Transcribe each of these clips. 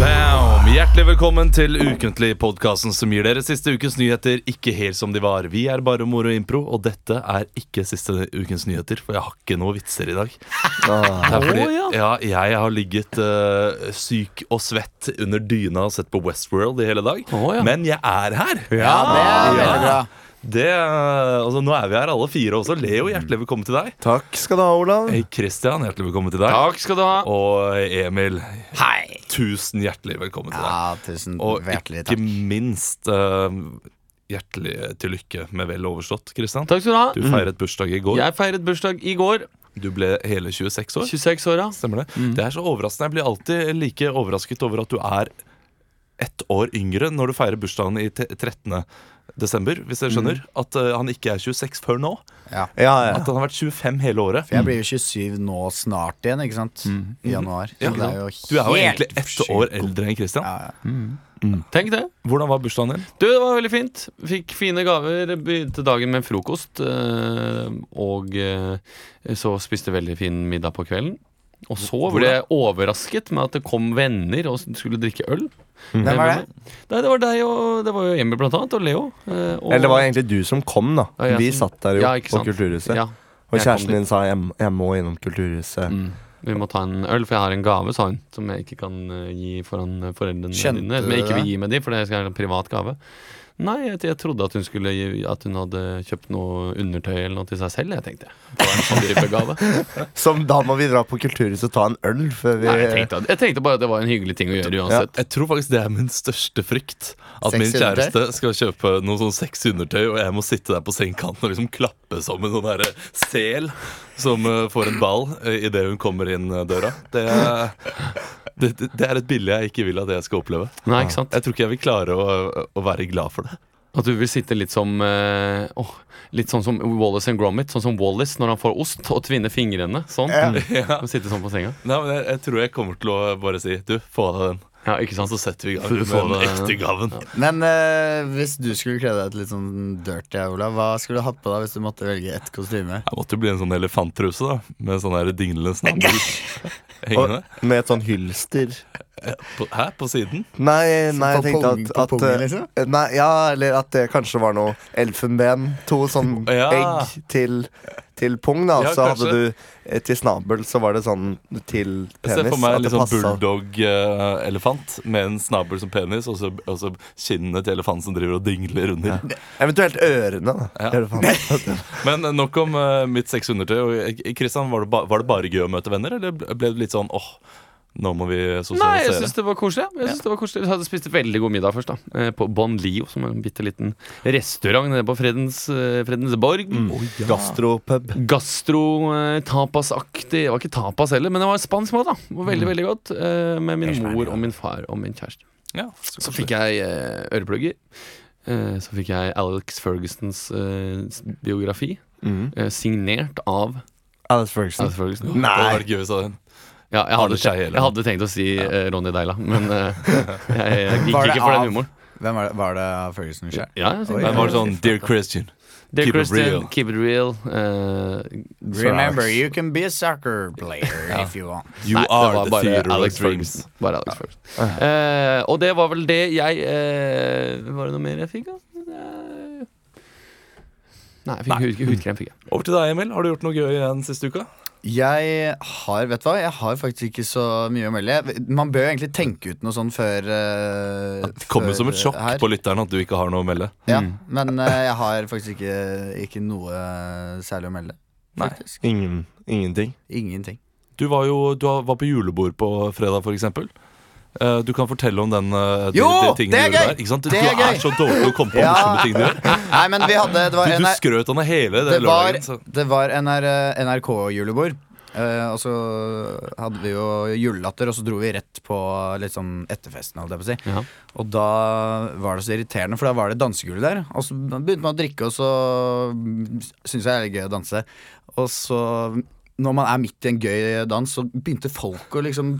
Bam! Hjertelig velkommen til ukentlig podkasten som gir dere siste ukens nyheter ikke helt som de var. Vi er bare moro og impro, og dette er ikke siste ukens nyheter, for jeg har ikke noe vitser i dag. Det er fordi ja, jeg har ligget eh, syk og svett under dyna og sett på Westworld i hele dag, Å, ja. men jeg er her. Ja, det er veldig bra. Det, eh, altså, nå er vi her alle fire også. Leo, hjertelig velkommen til deg. Takk skal du ha, Olav. Hey, Christian, hjertelig velkommen til deg. Takk skal du ha. Og Emil, Hei. tusen hjertelig velkommen til deg. Ja, tusen Og hjertelig ikke takk. minst eh, hjertelig eh, til lykke med vel overstått, Kristian. Takk skal Du du ha. feiret bursdag i går. Jeg feiret bursdag i går. Du ble hele 26 år. 26 år, ja. Mm. Stemmer det? Det er så overraskende. Jeg blir alltid like overrasket over at du er ett år yngre når du feirer bursdagen i te- 13. desember, hvis Mm. jeg skjønner. At eh, han ikke er 26 før nå. Ja. Ja, ja. At han har vært 25 hele året. Mm. For jeg blir jo 27 nå snart igjen, ikke sant? I januar. Så Ja. det er jo helt Du er jo egentlig ett sjukt. år eldre enn Kristian. Ja, ja. Mm. Tenk det. Hvordan var bursdagen din? Du, det var veldig fint. Fikk fine gaver. Begynte dagen med frokost. eh, Og eh, så spiste veldig fin middag på kvelden. Og så ble jeg overrasket med at det kom venner og skulle drikke øl. Hvem var det? Nei, det var deg og Det var jo Emil blant annet, og Leo. eh, Og, Eller det var egentlig du som kom, da. Ja, jeg Vi som- satt der jo Ja, ikke på sant. Kulturhuset. Ja, Og jeg kom Mm. kjæresten din sa jeg, m- jeg må innom Kulturhuset. vi må ta en øl, for jeg har en gave, sa hun, som jeg ikke kan eh, gi foran eh, foreldrene Skjønte dine. Som jeg du ikke vil det? gi med de, for det skal være en privat gave. Nei, jeg, jeg trodde at hun skulle gi, At hun hadde kjøpt noe undertøy eller noe til seg selv, jeg tenkte. Det var en sånn type gave. Som da må vi dra på Kulturhuset og ta en øl før vi Nei, jeg, tenkte, at- jeg tenkte bare at det var en hyggelig ting å gjøre uansett. Jeg tror faktisk det er min største frykt. At min Sexy undertøy? kjæreste skal kjøpe noe sånn sexy undertøy, og jeg må sitte der på sengekanten og liksom klappe som en sånn derre sel som eh, får en ball idet hun kommer inn eh, døra. Det er, det, det- det er et bilde jeg ikke vil at jeg skal oppleve. Nei, ikke sant? Jeg tror ikke jeg vil klare å, å være glad for det. At du vil sitte litt som eh, åh, Litt sånn som Wallace and Gromit. Sånn som Wallace når han får ost og tvinner fingrene. Sånn. Ja. Og sitte sånn på senga. Nei, men jeg, jeg tror jeg kommer til å bare si du, få av deg den. Ja, ikke Og sant? så setter vi i Få- gang få med den deg- ekte gaven. Men eh, hvis du skulle kle deg ut litt sånn dirty, Olav, hva skulle du hatt på deg hvis du måtte velge ett kostyme? Jeg måtte jo bli en sånn elefanttruse da, med sånn der dinglende snabel hengende. Og med et sånn hylster. På, hæ? På siden? Nei, nei, jeg på tenkte pungen- at, på at pungen, eh, liksom? Nei, ja, eller at det kanskje var noe elfenben. To sånn Ja. egg til, til pung, da. Ja, så hadde kanskje. du eh, til snabel, så var det sånn til Jeg ser penis. for meg at en det litt sånn passet. bulldog-elefant eh, med en snabel som penis, og så, og så kinnene til elefanten som driver og dingler under. Eventuelt ørene, da. Ja. Eller faen. Men nok om eh, mitt sexundertøy. Og, eh, Kristian, var, det ba- var det bare gøy å møte venner, eller ble ble det litt sånn åh, nå må vi Nei, jeg sosialisere? syns det var koselig. Jeg synes det var koselig Vi hadde spist veldig god middag først, da. Eh, På Bon Lio, som er en bitte liten restaurant nede på Fredens, eh, Fredensborg. Gastropub. Gastro, eh, tapasaktig. Det var ikke tapas heller, men det var spansk mat, da. Det var veldig, veldig godt. eh, Med min mor og min far og min kjæreste. Ja, Så fikk jeg eh, øreplugger. Eh, Så fikk jeg Alex Fergusons eh, s- biografi, eh, signert av Alice Ferguson. Alex Ferguson. Nei. Det hadde vært gøy hvis jeg Ja, jeg Arne hadde, Skei, tenkt, eller? jeg hadde tenkt å si eh, Ronny Deila, men eh, jeg, jeg gikk Var det ikke for av? den humoren. Hvem var det, var det av Ferguson sjøl? Ja, jeg Oi. synes Men det. var det sånn Dear Christian. Dear keep it Christian, real. keep it real. eh, Remember, you can be a soccer player if you want. You Nei, det are var the bare theater of Alex dreams. Ferguson. Bare Alex Ferguson. Eh, og det var vel det jeg eh, Var det noe mer jeg fikk, da? Eh, Nei, jeg fikk hud, hudkrem. fikk jeg Over til deg, Emil. Har du gjort noe gøy den siste uka? Jeg har vet du hva, jeg har faktisk ikke så mye å melde. Man bør jo egentlig tenke ut noe sånn før eh, Det kom jo før, som et sjokk eh, her. på lytteren at du ikke har noe å melde. Ja, Mm. Men eh, jeg har faktisk ikke, ikke noe særlig å melde. Nei. Faktisk. Ingen, ingenting. Ingenting. Du var jo du var på julebord på fredag, for eksempel. Eh, Du kan fortelle om den eh, de, Jo, de tingene det er du gjorde gøy! der. Ikke sant? Du Det er er gøy! så dårlig til å komme på Ja. morsomme ting du gjør. Nei, men vi hadde Det var, Du, du NR skrøt av hele det, det var, lørdagen. Så. det var eh, NR NRK-julebord. Eh, og så hadde vi jo julelatter, og så dro vi rett på litt sånn etterfesten. Holdt jeg på å si. Ja. Og da var det så irriterende, for da var det dansegulv der. Og så begynte man å drikke, og så syntes jeg det er litt gøy å danse. Og så når man er midt i en gøy dans, så begynte folk å liksom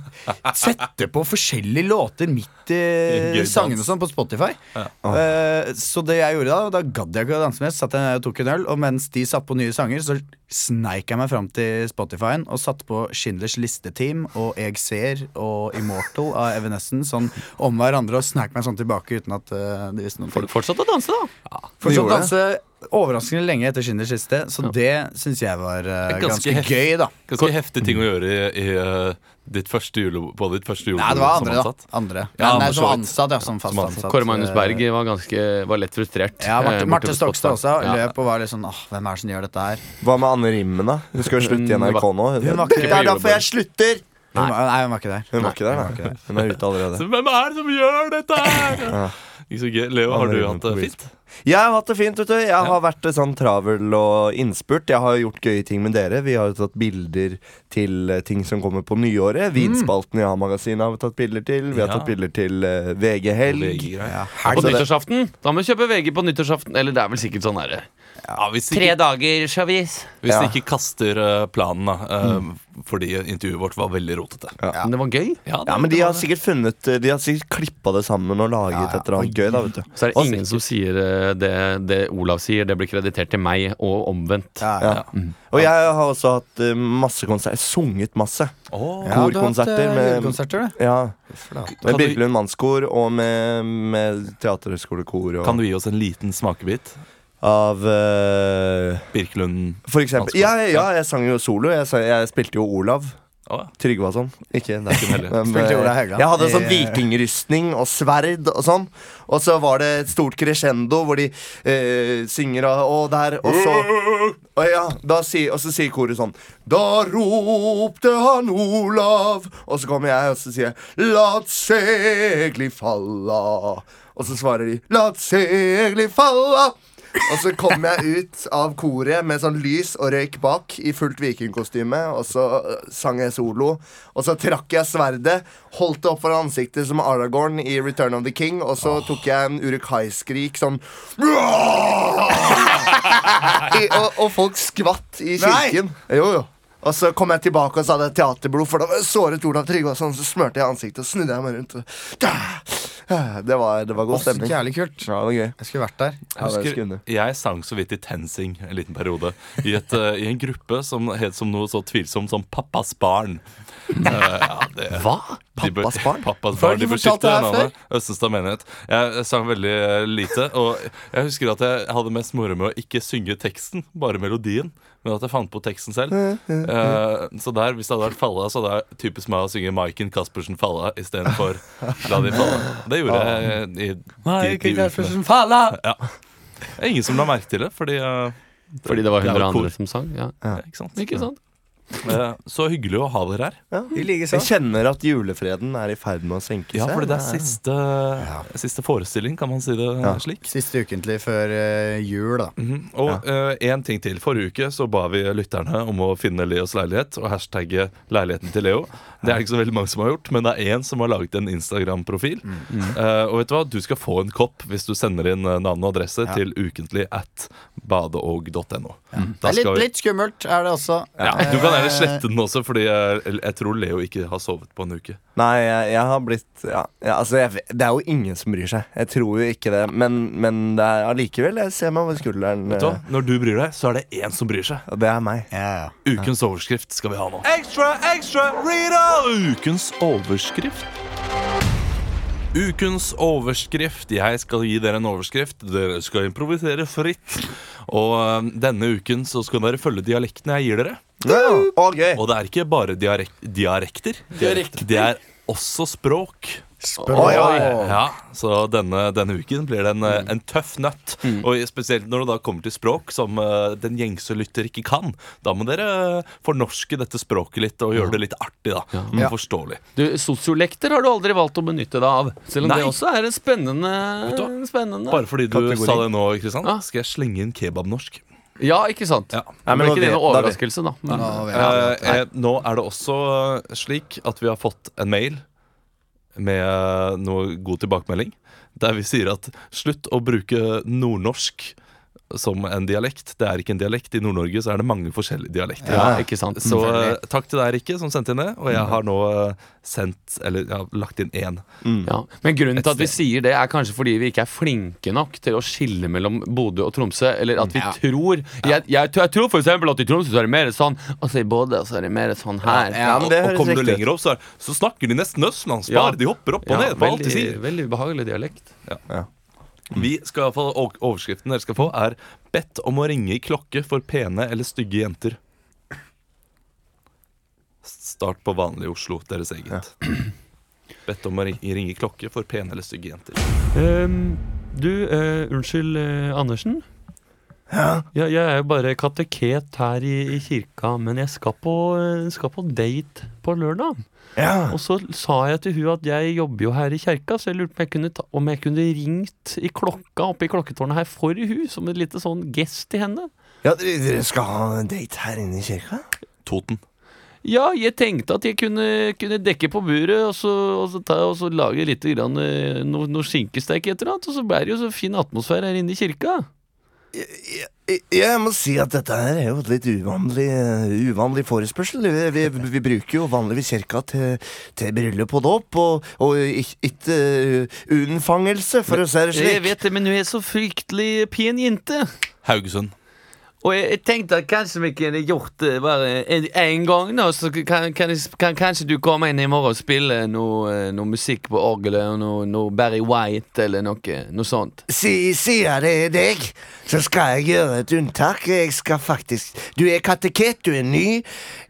sette på forskjellige låter midt I en i gøy dans. sangene og sånn på Spotify. Eh, så det jeg gjorde da, da gadd jeg ikke å danse mer, så satt jeg ned og tok en øl. Og mens de satt på nye sanger, så sneik jeg meg fram til Spotify-en og satte på Schindlers Liste-team og Jeg ser og Immortal av Evanescence sånn om hverandre og sneik meg sånn tilbake uten at eh, de visste noe. For- Fortsatt å danse, da. Fortsatt gjorde danse overraskende lenge etter Schindlers Liste, så det syns jeg var eh, Det er ganske ganske, heft- gøy, da. Ganske heftig ting å gjøre i, i eh, ditt første jule, på ditt første julebord. Nei, det var som andre, ansatt. da. Andre. Nei, Ja, nei, for som så vidt. ansatt, ja. Som fast som ansatt. ansatt. Kåre Magnus eh, Berg var, ganske, var lett frustrert. Ja, eh, Marte, borte Marte på Stokstad også Spotify. Ja. løp og var litt sånn åh, hvem er det som gjør dette her? Hva med Anne Rimmen, da? Hun skal jo slutte i Hun NRK nå. hun var ikke- Det er derfor jeg slutter! Hun var, nei, hun var ikke der. Hun var ikke Hun var der, ikke da. Hun er ute allerede. Så hvem er det som gjør dette her? Ikke så gøy. Leo, har du Andre hatt det på fint? Jeg har hatt det fint, vet du. Jeg har vært eh, sånn travel og innspurt. Jeg har gjort gøye ting med dere. Vi har jo tatt bilder til eh, ting som kommer på nyåret. Vinspalten i A-magasinet har vi tatt bilder til. Vi har Ja. tatt bilder til eh, VG Helg. VG-greier. Ja, På Så det- nyttårsaften? Da må vi kjøpe VG på nyttårsaften. Eller det er vel sikkert sånn derre Ja, hvis ikke, dager, sjavis. hvis Ja. de ikke kaster eh, planen, da. eh, Mm. Fordi intervjuet vårt var veldig rotete. Men det var gøy. Ja, men de har sikkert funnet eh, De har sikkert klippa det sammen og laget Ja, ja. et eller annet gøy, da, vet du. Så er det Og ingen som sier eh, det, det Olav sier, det blir kreditert til meg, og omvendt. ja, ja. Ja. Og jeg har også hatt eh, masse konserter. Sunget masse. Ja, Åh, du har hatt, Korkonserter eh, med- julekonserter, du. Ja. Kan Med du- Birkelund Mannskor og med, med Teaterhøgskolekor og Kan du gi oss en liten smakebit? av eh, Birkelund For eksempel. Vanskelig. Ja, ja, ja, jeg sang jo solo. Jeg, sang, jeg spilte jo Olav. Å, ja. Tryggvason. Ikke, det er ikke Heller. men, Spilte eh, Olav Haugland. Jeg hadde sånn I- vikingrustning og sverd og sånn. Og så var det et stort crescendo hvor de eh, synger og, og der, og så og, ja, da sier- og så sier koret sånn Da ropte han Olav Og så kommer jeg, og så sier jeg Lat segli falla Og så svarer de Lat segli falla og så kommer jeg ut av koret med sånn lys og røyk bak i fullt vikingkostyme, og så øh, sang jeg solo. Og så trakk jeg sverdet, holdt det opp foran ansiktet som Aragorn i Return of the King, og så tok jeg en Urukai-skrik sånn i, og, og folk skvatt i kirken. Jo, jo. Og så kom jeg tilbake og så hadde jeg teaterblod, for da var jeg såret Olav Tryggvason. Så smurte jeg ansiktet og snudde jeg meg rundt. og- Det var, det var god Også stemning. Ja, jævlig kult. det var gøy. Jeg skulle vært der. Ja, det Jeg skulle du. husker jeg sang så vidt i TenSing en liten periode. I, et, eh, i en gruppe som het som noe så tvilsomt som Pappas barn. Eh, ja, det, Hva? Pappas barn? Pappas Har barn, du De ikke fortalt det beskytter her navnet. Østenstad menighet. Jeg sang veldig eh, lite. Og jeg husker at jeg hadde mest moro med å ikke synge teksten, bare melodien. Men at jeg fant på teksten selv. Eh, så der, hvis det hadde vært Falla, så hadde det typisk meg å synge Maiken Caspersen Falla istedenfor La de falle. Det gjorde jeg i, i de ukene. Det er ingen som la merke til det, fordi eh, Fordi det var Det er jo 100 kor. andre som sang. Ja. ikke sant? Ikke sant? Eh, Så hyggelig å ha dere her. Jeg kjenner at julefreden er i ferd med å senke seg. Ja, fordi det er siste, siste forestilling, kan man si det slik. Siste ukentlig før eh, jul, da. Mhm. Og én ting til. Forrige uke så ba vi lytterne om å finne Leos leilighet og hashtagge leiligheten til Leo. Det er det ikke så veldig mange som har gjort, men det er én som har laget en Instagram-profil. Mm. Eh, og vet du hva? Du skal få en kopp hvis du sender inn eh, navn og adresse til ukentlig at badeog.no. Det Da er litt, skal vi- litt skummelt, er det også. Ja, du kan gjerne Eh, slette den også, Fordi jeg, jeg tror Leo ikke har sovet på en uke. Nei, jeg, jeg har blitt ja, ja, altså jeg, Det er jo ingen som bryr seg. Jeg tror jo ikke det. Men, men det er allikevel. Jeg ser meg over skulderen. Vet du hva? eh, Når du bryr deg, så er det én som bryr seg. Og det er meg. Ja, ja. Ukens overskrift skal vi ha nå. Ekstra, ekstra, Rita! Ukens overskrift. Ukens overskrift. Jeg skal gi dere en overskrift. Dere skal improvisere fritt. Og øhm, denne uken så skal dere følge dialektene jeg gir dere. Wow, Å, gøy. Og det er ikke bare diarek diarekter. Det er også språk. Spør Ja, så denne, denne uken blir det en, eh, en tøff nøtt. Mm. Og i- spesielt når det da kommer til språk som eh, den gjengse lytter ikke kan. Da må dere eh, fornorske dette språket litt og gjøre det litt artig, da. Men Ja. forståelig. Du, Sosiolekter har du aldri valgt å benytte deg av. Selv om Nei. det også er en spennende, spennende. Bare fordi du Kategori. sa det nå, Kristian, Ja. skal jeg slenge inn kebabnorsk. Ja, ikke sant? Ja. Nei, men det da blir ikke det noen vet- da vet- overraskelse, da. Mm. Men, Eh, eh, nå er det også eh, slik at vi har fått en mail med eh, noe god tilbakemelding, der vi sier at slutt å bruke nordnorsk som en dialekt. Det er ikke en dialekt. I Nord-Norge så er det mange forskjellige dialekter. ja, ikke sant? Så eh, takk til deg, Rikke, som sendte inn det. Og jeg har nå eh, sendt, eller jeg har lagt inn én. Mm. Ja. Men grunnen til at vi sier det, er kanskje fordi vi ikke er flinke nok til å skille mellom Bodø og Tromsø. Eller at vi tror jeg, jeg, jeg tror for eksempel at i Tromsø så er det mer sånn, og så i Bodø så er det mer sånn her. Ja, men og, det og høres kommer du riktig ut. lenger opp, så, er- så snakker de nesten østlandsbar. Ja. De hopper opp og Ja, ned på alt de veldig, sier. veldig ubehagelig dialekt. Vi skal i hvert fall, og- Overskriften dere skal få, er 'Bedt om å ringe i klokke for pene eller stygge jenter'. Start på vanlig Oslo, deres eget. Bedt om å ri- ringe i klokke for pene eller stygge jenter. Ehm, du, eh, unnskyld, Andersen. jeg er jo bare kateket her i, kirka, men jeg skal på, date på lørdag. Ja. Og så sa jeg til hun at jeg jobber jo her i kjerka, så jeg lurte på om jeg kunne, ta, om jeg kunne ringt i klokka oppe i klokketårnet her for hun, som et lite sånn gest til henne. Ja, dere dere skal ha en date her inne i kirka? Toten. Ja, jeg tenkte at jeg kunne, kunne dekke på buret, og så, og så, ta, og så lage litt grann, eh, no, noe skinkestek et eller annet, og så ble det jo så fin atmosfære her inne i kirka. Jeg, jeg, jeg må si at dette her er jo et litt uvanlig, eh, uvanlig forespørsel. Vi, vi, vi bruker jo vanligvis kirka til, til bryllup og dåp, og, og ik- ikke eh, unnfangelse, for å si det Jeg slik. vet det, men hun er så fryktelig pen jente. Haugesund. Og jeg, jeg tenkte at kanskje vi kunne gjort det bare en, en gang, da. Så kan, kan, jeg sp- kan kanskje du komme inn i morgen og spille noe, eh, noe musikk på orgelet, og noe, noe Barry White eller noe, noe sånt. Si- Sier det er deg, så skal jeg gjøre et unntak. Jeg skal faktisk Du er kateket, du er ny.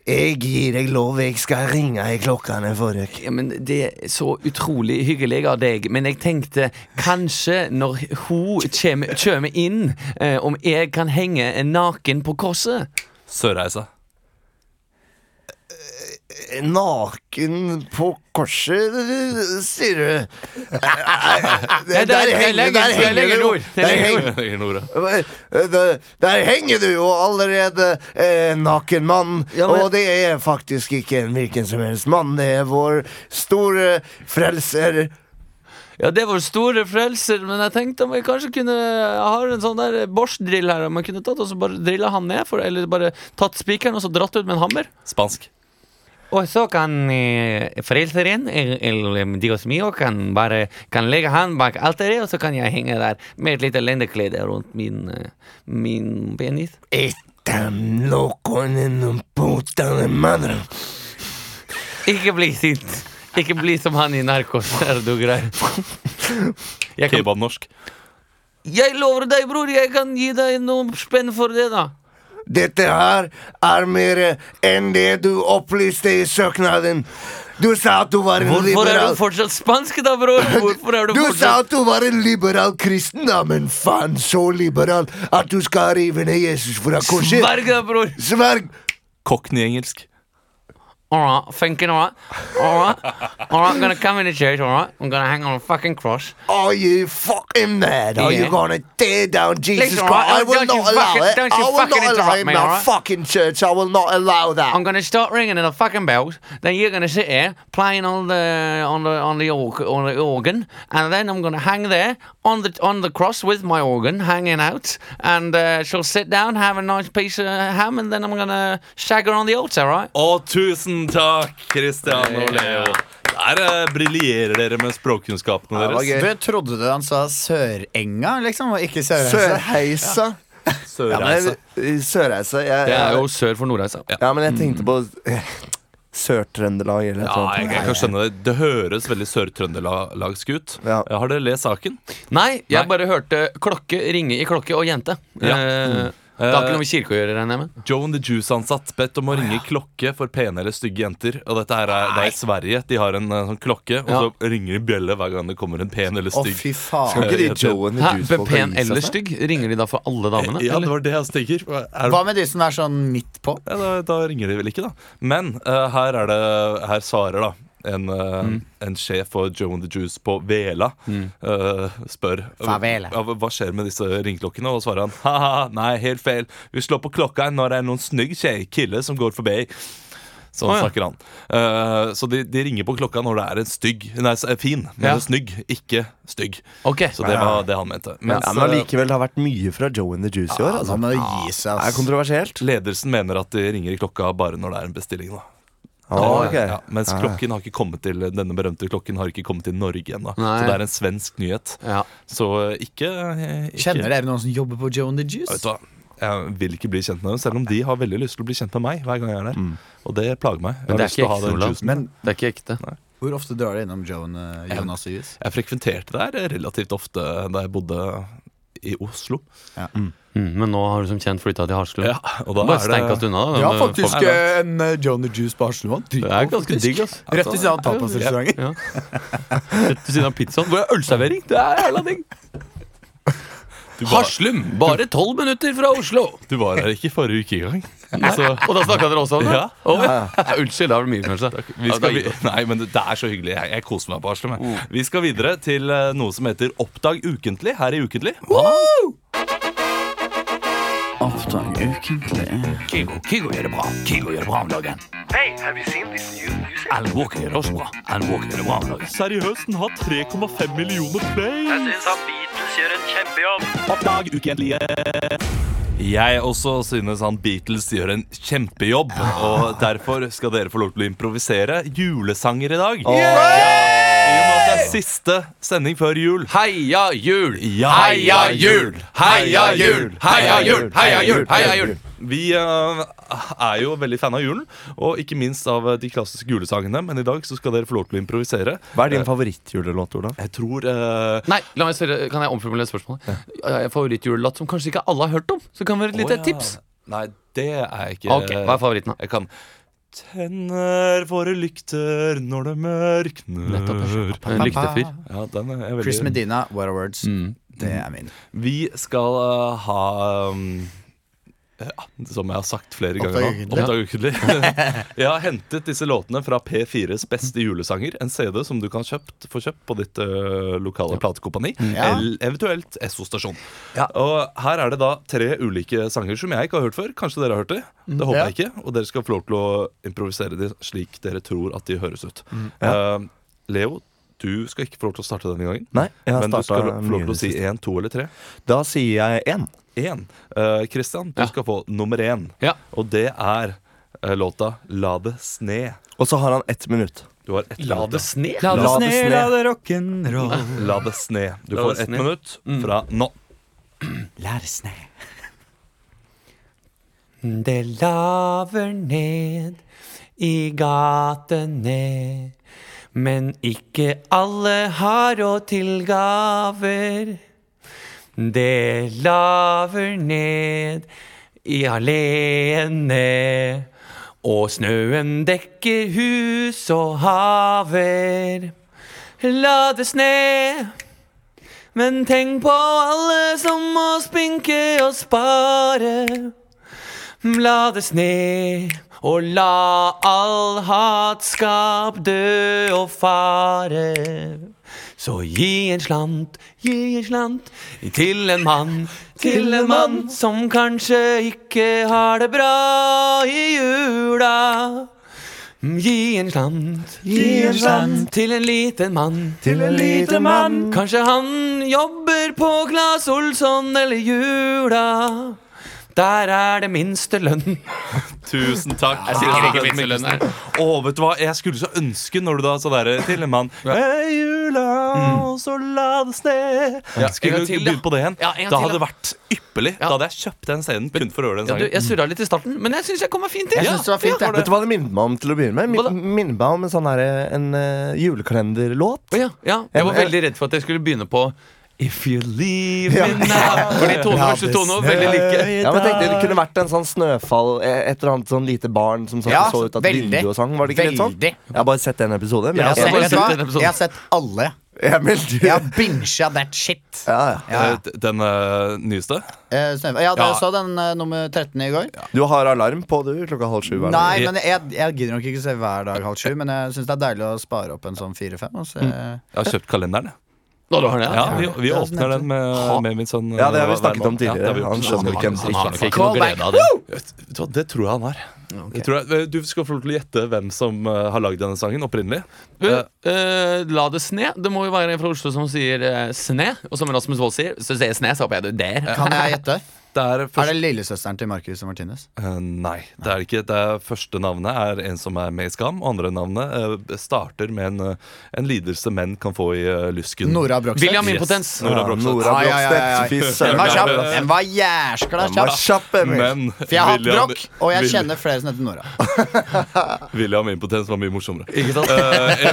Jeg gir deg lov, jeg skal ringe i klokkene for deg. Ja, men Det er så utrolig hyggelig av deg, men jeg tenkte kanskje når hun kommer, kommer inn, eh, om jeg kan henge naken på korset? Sørreisa. Eh, Naken på korset, sier du? Der, der legger- der legger du jo- nord. Der Der legger henger, Ingen ord, ja. der, der henger du jo allerede, eh, naken mann. Ja, men- Og det er faktisk ikke en hvilken som helst mann. Det er vår store frelser. Ja, det var store frelser, men jeg tenkte om jeg kanskje kunne Jeg har en sånn der Bosch-drill her, om jeg kunne tatt og så bare drilla han ned, for, eller bare tatt spikeren og så dratt ut med en hammer. Spansk. Og så kan eh, frelseren, el- eller Dios mio, kan bare kan legge han bak alteret, og så kan jeg henge der med et lite lendeklede rundt min, eh, min penis. Etam noen innom potene, mann. Ikke bli sint. Ikke bli som han i Narkos, er du grei. Jeg, kan, Kebabnorsk. jeg lover deg, bror, jeg kan gi deg noe spenn for det, da. Dette her er mer enn det du opplyste i søknaden. Du sa at du var en Hvorfor er liberal du fortsatt spansk, da, bror? Hvorfor er du Du sa fortsatt at du var en liberal kristen, da, men faen så liberal at du skal rive ned Jesus fra korset. Sverg, da, bror. Sverg! Cockney-engelsk. Alright, thinking, alright. Alright. Alright, I'm gonna come into church, alright. I'm gonna hang on a fucking cross. Are you fucking mad? Are you Yeah. gonna tear down Jesus Listen, Christ? I don't will you not fucking- allow it. don't you I will fucking not allow interrupt it in me, my alright? fucking church. I will not allow that. I'm gonna start ringing the fucking bells. Then you're gonna sit here playing on the on the on the, org, on the organ, and then I'm gonna hang there on the on the cross with my organ hanging out, and uh, she'll sit down, have a nice piece of ham, and then I'm gonna shag her on the altar, right? Og tusen takk, Kristian og Leo. Der eh, briljerer dere med språkkunnskapene det var gøy. deres. Du trodde du han sa Sørenga, liksom, og ikke Sørreisa? Sørheisa. Ja, Sørreisa. men eh, Sørreisa jeg, Det er jo sør for Nordreisa. Ja, men jeg tenkte på eh, Sør-Trøndelag eller Ja, noe jeg, jeg kan skjønne det. Det høres veldig sør-trøndelag-lagsk ut. Ja. Eh, Har dere lest saken? Nei, jeg Nei. bare hørte klokke ringe i klokke og jente. Ja. Mm. Eh, Det har ikke noe med kirke å gjøre, regner jeg med? Joan the Juice-ansatt bedt om å ringe klokke for pene eller stygge jenter. Og dette her er, det er i Sverige. De har en eh, sånn klokke, og Ja. så ringer de bjelle hver gang det kommer en pen eller Å, stygg. fy eh, faen. Kan ikke de Joan Hæ, med juice Pen eller stygg? Ringer de da for alle damene? ja, det eller? var det jeg tenker. Er det Hva med de som er sånn midt på? Ja, da, da ringer de vel ikke, da. Men eh, her er det Her svarer da en, eh, Mm. en sjef for Joan the Juice på Vela eh, spør Favela. Ja, hva skjer med disse ringeklokkene. Og svarer han haha, nei, helt feil. Vi slår på klokka når det er noen snygg tjej- kille som går forbi. Sånn Å, ja. snakker han. Eh, så de, de ringer på klokka når det er en stygg Nei, s- fin, men Ja. en snygg, ikke stygg. Ok, Så det var det han mente. Mens, Ja, men eh, allikevel, det har vært mye fra Joe and the Juice i år. Altså, Altså. må det gi seg, Det er ass. kontroversielt. ledelsen mener at de ringer i klokka bare når det er en bestilling. da Ah, ok. ja, mens klokken har ikke kommet til denne berømte klokken har ikke kommet til Norge ennå. Nei. Så det er en svensk nyhet. Ja. Så eh, ikke, eh, ikke Kjenner dere noen som jobber på Joan the Ja, Vet Juice? du hva? Jeg vil ikke bli kjent med dem, selv om de har veldig lyst til å bli kjent med meg. hver gang jeg er der Og det plager meg. Jeg, Mm. Men har det er lyst til å ikke ha ekte, den Olav. juicen. Men Det er ikke ekte. hvor ofte drar dere innom Joan, eh, Jonas the Juice? jeg frekventerte der relativt ofte da jeg bodde i Oslo. Mm, men nå har du som kjent flytta til Haslum. Ja, og da Bare er det- steik oss unna, da. Jeg har men- faktisk Nei, nei. eh, en eh, Joan the Juice på Haslemoen. Det er ganske digg, ass. Rett ved siden av tapasrestauranten. Ja. Rett ved siden av pizzaen. Hvor er ølservering? Det er jævla digg. Haslum! Bare tolv minutter fra Oslo. Du var her ikke forrige uke engang. Så, og da snakka dere også om det? Ja. Å, ja. Unnskyld, da var det mye, kanskje. Vi Ja, da skal, gikk vi, det. nei, men det det er så hyggelig. Jeg, jeg koser meg på Aslum. jeg. Mm. Vi skal videre til eh, noe som heter Oppdag ukentlig her i Ukentlig. Kygo, Kygo gjør det bra. Kygo gjør det bra om dagen. Alan Walker gjør det også bra. Alan Walker gjør det bra om dagen. Seriøst, den har 3,5 millioner play. syns at Beatles gjør en kjempejobb. Oppdag ukentlige. Jeg også synes han Beatles gjør en kjempejobb, og derfor skal dere få lov til å improvisere julesanger i dag. I og med at det er siste sending før jul. Heia jul! Ja. Heia jul! Heia jul! Heia jul! Heia jul! Heia jul! Vi eh, er jo veldig fan av julen, og ikke minst av eh, de klassiske julesangene. Men i dag så skal dere få lov til å improvisere. Hva er din favorittjulelåt, Olav? Jeg tror eh, Nei, la meg spørre, kan jeg omformulere spørsmålet? Ja. Favorittjulelåt som kanskje ikke alle har hørt om? Så kan det være et lite å, ja. tips. Nei, det er jeg ikke Ok, Hva er favoritten, da? Jeg kan Tenner våre lykter når det mørkner Nettopp. En lyktefyr. Ja, den er jeg veldig Mm. Chris Medina, What Are Words. Det er min. Vi skal eh, ha um, ja, Som jeg har sagt flere ganger Oppdag nå Oppdag ukentlig Jeg har hentet disse låtene fra P4s beste julesanger En CD som du kan kjøpt, få kjøpt på ditt eh, lokale platekompani Mm. Ja. Eller eventuelt SO-stasjon Og her er det da tre ulike sanger som jeg ikke har hørt før Kanskje dere har hørt det? Det håper Mm. Ja. jeg ikke Og dere skal få lov til å improvisere de slik dere tror at de høres ut Mm. Eh, Leo, du skal ikke få lov til å starte denne gangen Nei, jeg har Men du skal starta få lov til å si en, to eller tre Da sier jeg én. én. Eh, Christian, du Ja. skal få nummer én. Ja. Og det er eh, låta 'La det sne'. Og så har han ett minutt. Du har ett La minutt. det sne. La det sne. det rock'n'roll. La det sne. Du La får det ett sne. Mm. minutt fra nå. La det sne. Det laver ned i gatene, men ikke alle har råd til gaver. Det laver ned i alleene, og snøen dekker hus og haver. La det sne, men tenk på alle som må spinke og spare. La det sne, og la all hatskap dø og fare. Så gi en slant, gi en slant til en mann, til en mann som kanskje ikke har det bra i jula. Gi en slant, gi en slant til en liten mann, til en liten mann. Kanskje han jobber på Claes Olsson eller Jula. Der er det minste lønn. Tusen takk. Ah. sikkert ikke Tusen takk, minstelønn her. Mikkelsen. Å, vet du hva? Jeg skulle så ønske når du da så derre til en mann Med jula, og så la det sne en Skulle gang du Mm. til, ja. begynt på det igjen? Ja, en gang da til, hadde det ja. vært ypperlig. Ja. Da hadde jeg kjøpt den scenen kun for å høre den Ja, du, sangen. jeg surra litt i starten, men jeg syns jeg kommer fint til. Jeg synes det var fint, ja, jeg. Vet du hva det minnet meg om til å begynne med? Hva da? Min, minnet meg om en sånn her, en eh, julekalenderlåt. ja, ja. Jeg var veldig redd for at jeg skulle begynne på If you leave me now Fordi tonene Ja, og det Tone var veldig like. Ja, men jeg tenkte Det kunne vært en sånn snøfall eh, Et eller annet sånn lite barn som satt Ja, og så ut av et veldig. vindu og sang. Var det ikke litt sånn? Veldig. Jeg har bare sett en episode. Men Jeg har, jeg, sett, bare vet du sett hva? den episoden. jeg har sett alle. Emil, du Jeg ja. har binsja that shit. Ja, Ja, ja. Eh, Den eh, nyeste? Eh, Snøhvit. ja dere Ja. så den eh, nummer 13 i går? Du har alarm på, du, klokka halv sju hver dag. Nei, men jeg, jeg gidder nok ikke se hver dag halv sju, men jeg syns det er deilig å spare opp en sånn fire-fem. og se- Jeg har kjøpt kalenderen. jeg. Mm. Nå, du har det, Ja, ja. vi, vi åpner den med, med min sønn. Ja, det har vi eh, hver snakket om måned. Ja, det har vi tidligere. gjort. Han skjønner hvem som Han har ikke nok ikke noe glede av det. Vet du hva, Det tror jeg han har. Det tror jeg, du skal få lov til å gjette hvem som eh, har lagd denne sangen opprinnelig. Du, eh, la det sne. Det må jo være en fra Oslo som sier eh, sne. Og som Rasmus Wold sier, så sier jeg sne, så håper jeg du der. Kan jeg gjette? Det er Er først, det lillesøsteren til Marcus og Martinus? Eh, nei, det er det ikke. Det er første navnet er en som er med i Skam. Andre navnet eh, starter med en, eh, en lidelse menn kan få i eh, lysken. Nora Brogstad. William Yes. Impotens. Nora Nora Brogstad. Brogstad. Nora Ai, ai, ai, ai. Brogstad. Fy Den var søren. kjapp! Den var jæskla Den var kjapp! kjapp, Emil. Men For jeg har hatt William- brokk, og jeg William- kjenner flere som heter Nora. William Impotens var mye morsommere. Eh,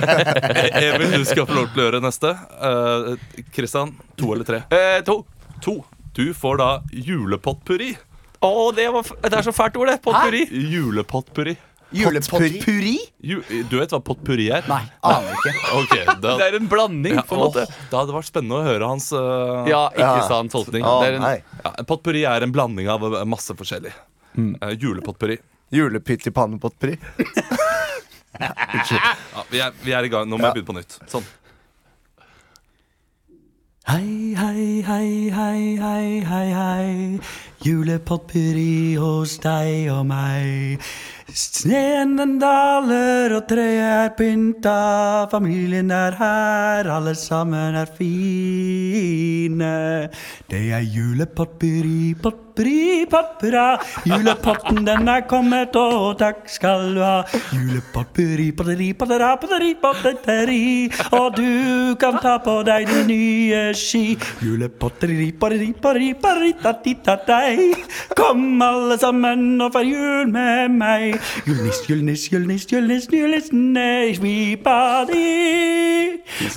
E- Emil, du skal få lov til å gjøre neste. Eh, Kristian, to eller tre? Eh, to. To. Du får da julepotpurri. Å, det, var f det er så fælt ord, det. Potpurri. Julepotpurri. Julepotpuri? Ju du vet hva potpurri er? Nei, aner ikke. Ok, da, Det er en blanding, ja, på en åh, måte. det hadde vært spennende å høre hans eh, Ja, ikke Ja. sant. Tolkning. Å, det er en, nei. ja, Potpurri er en blanding av eh, masse forskjellig. Eh, julepotpurri. Julepyttipannepotpri. Ja, vi, er, vi er i gang. Nå må jeg begynne på nytt. Sånn. Hei, hei, hei, hei, hei, hei, hei. Julepotpurri hos deg og meg. Sneen den daler og treet er pynta. Familien er her, alle sammen er fine. Det er julepotpurri, potpurri, potpurra. Julepotten den er kommet, og takk skal du ha. Julepotpurri, potpurri, potpurra, potpurri, potpurri. Og du kan ta på deg de nye ski. Julepotteri, pareri, pareri, pareri, tattitatei. Kom alle sammen og feir jul med meg. Juleniss, juleniss, juleniss, juleniss, julenissen er svipadi.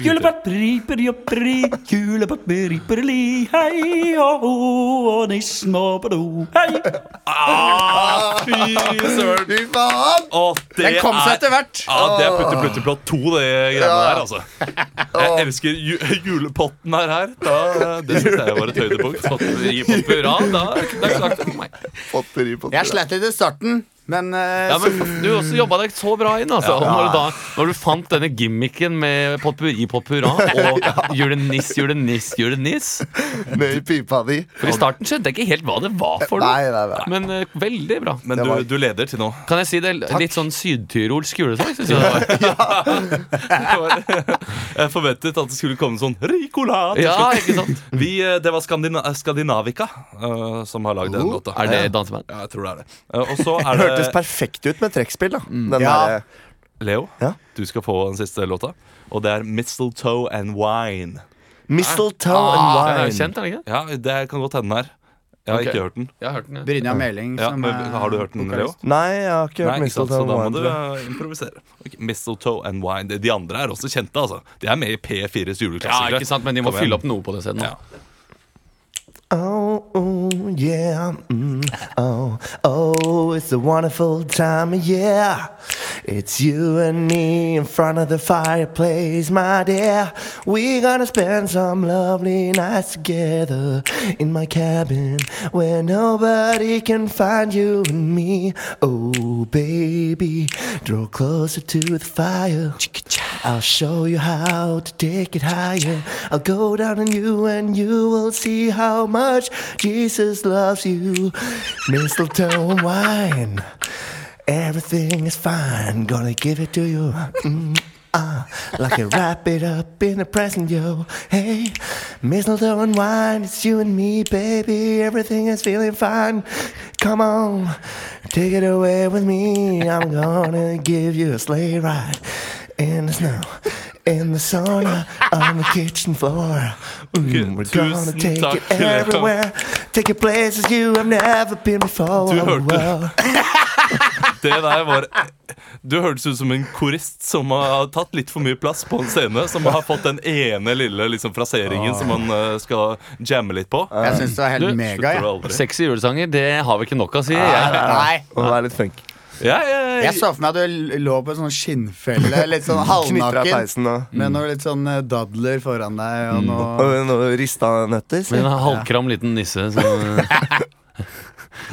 Julepotteri, peri, peri, julepotteri, perli, hei, ho, ho, og nissen må på do, hei. Ah, Fy søren! Fy faen! Åh, det Den kom seg etter hvert. Ja, det er putte putte plott to, det greiene der, altså. Jeg elsker ju julepotten her. her. Da, øh, det syns jeg var et høydepunkt. Potpurri, potpurra, da, da klarte det for meg. Potteripotpri. Jeg slet litt i starten, men, eh, Ja, men Du også jobba deg så bra inn. altså Og når, du da, når du fant denne gimmicken med potpurri, potpurra og juleniss, juleniss, juleniss Ned i pipa di. For I starten skjønte jeg ikke helt hva det var for Nei, noe. nei, nei. Men øh, eh, veldig bra. Men du, du leder Eh, til nå. Kan jeg si det litt sånn sydtyrolsk julesang? Synes jeg det var. Jeg forventet at det skulle komme sånn Ricola! til Ja, slutt. ikke sant? Vi, eh, det var Skandina Skandinavica eh, som har lagd den låta. Er det danseband? Ja, jeg tror det er det. Eh, og så er det Oh. Hørtes perfekt ut med trekkspill, da. Den Mm. eh, Ja. derre- Leo, Ja. du skal få den siste låta. Og det er 'Mistletoe and Wine'. Mistletoe Ah, Den er and jo wine. kjent, er den ikke? det? Ja, Det kan godt hende den her. Jeg har Ok. ikke hørt den. Jeg har hørt den. ja. Brynja Meling Ja, som men, er har du hørt den, Leo? vokalist. Nei, jeg har ikke hørt Nei, ikke sant, så mistletoe da må and du wine. eh, improvisere. Ok, Mistletoe and Wine. De- De andre er også kjente, altså. De er med i P4s Ja, juleklassikere. ikke sant, Men de må Kom igjen. fylle opp noe på det stedet. Ja. Oh, oh, yeah. Mm, oh, oh, it's a wonderful time of year. It's you and me in front of the fireplace, my dear. We're gonna spend some lovely nights together in my cabin where nobody can find you and me. Oh, baby, draw closer to the fire. I'll show you how to take it higher. I'll go down on you and you will see how much Jesus loves you. Mistletoe and wine. Everything is fine. Gonna give it to you. Mm, ah, like a wrap it up in a present, yo. Hey, mistletoe and wine. It's you and me, baby. Everything is feeling fine. Come on, take it away with me. I'm gonna give you a sleigh ride in the snow. In the sauna, on the kitchen floor. Mm, we're gonna Tusen take takk, it Leo. everywhere. Take it places you have never been before. Du hørte det. Det der var Du hørtes ut som en korist som har tatt litt for mye plass på en scene. Som har fått den ene lille liksom, fraseringen som man eh, skal jamme litt på. Jeg syns det var helt Du, mega. Ah, Slutter Jeg. du aldri. Eh, Sexy julesanger, det har vi ikke nok av, sier Nei, jeg. nei, nei. Å være litt funk. Ja, ja, ja. Jeg så for meg at du lå på en sånn skinnfelle, litt sånn Knytter av halvnaken, peisen og, med noe litt sånn eh, dadler foran deg Mm. og noe og noe rista nøtter. Med sier jeg. en halvkram liten nisse som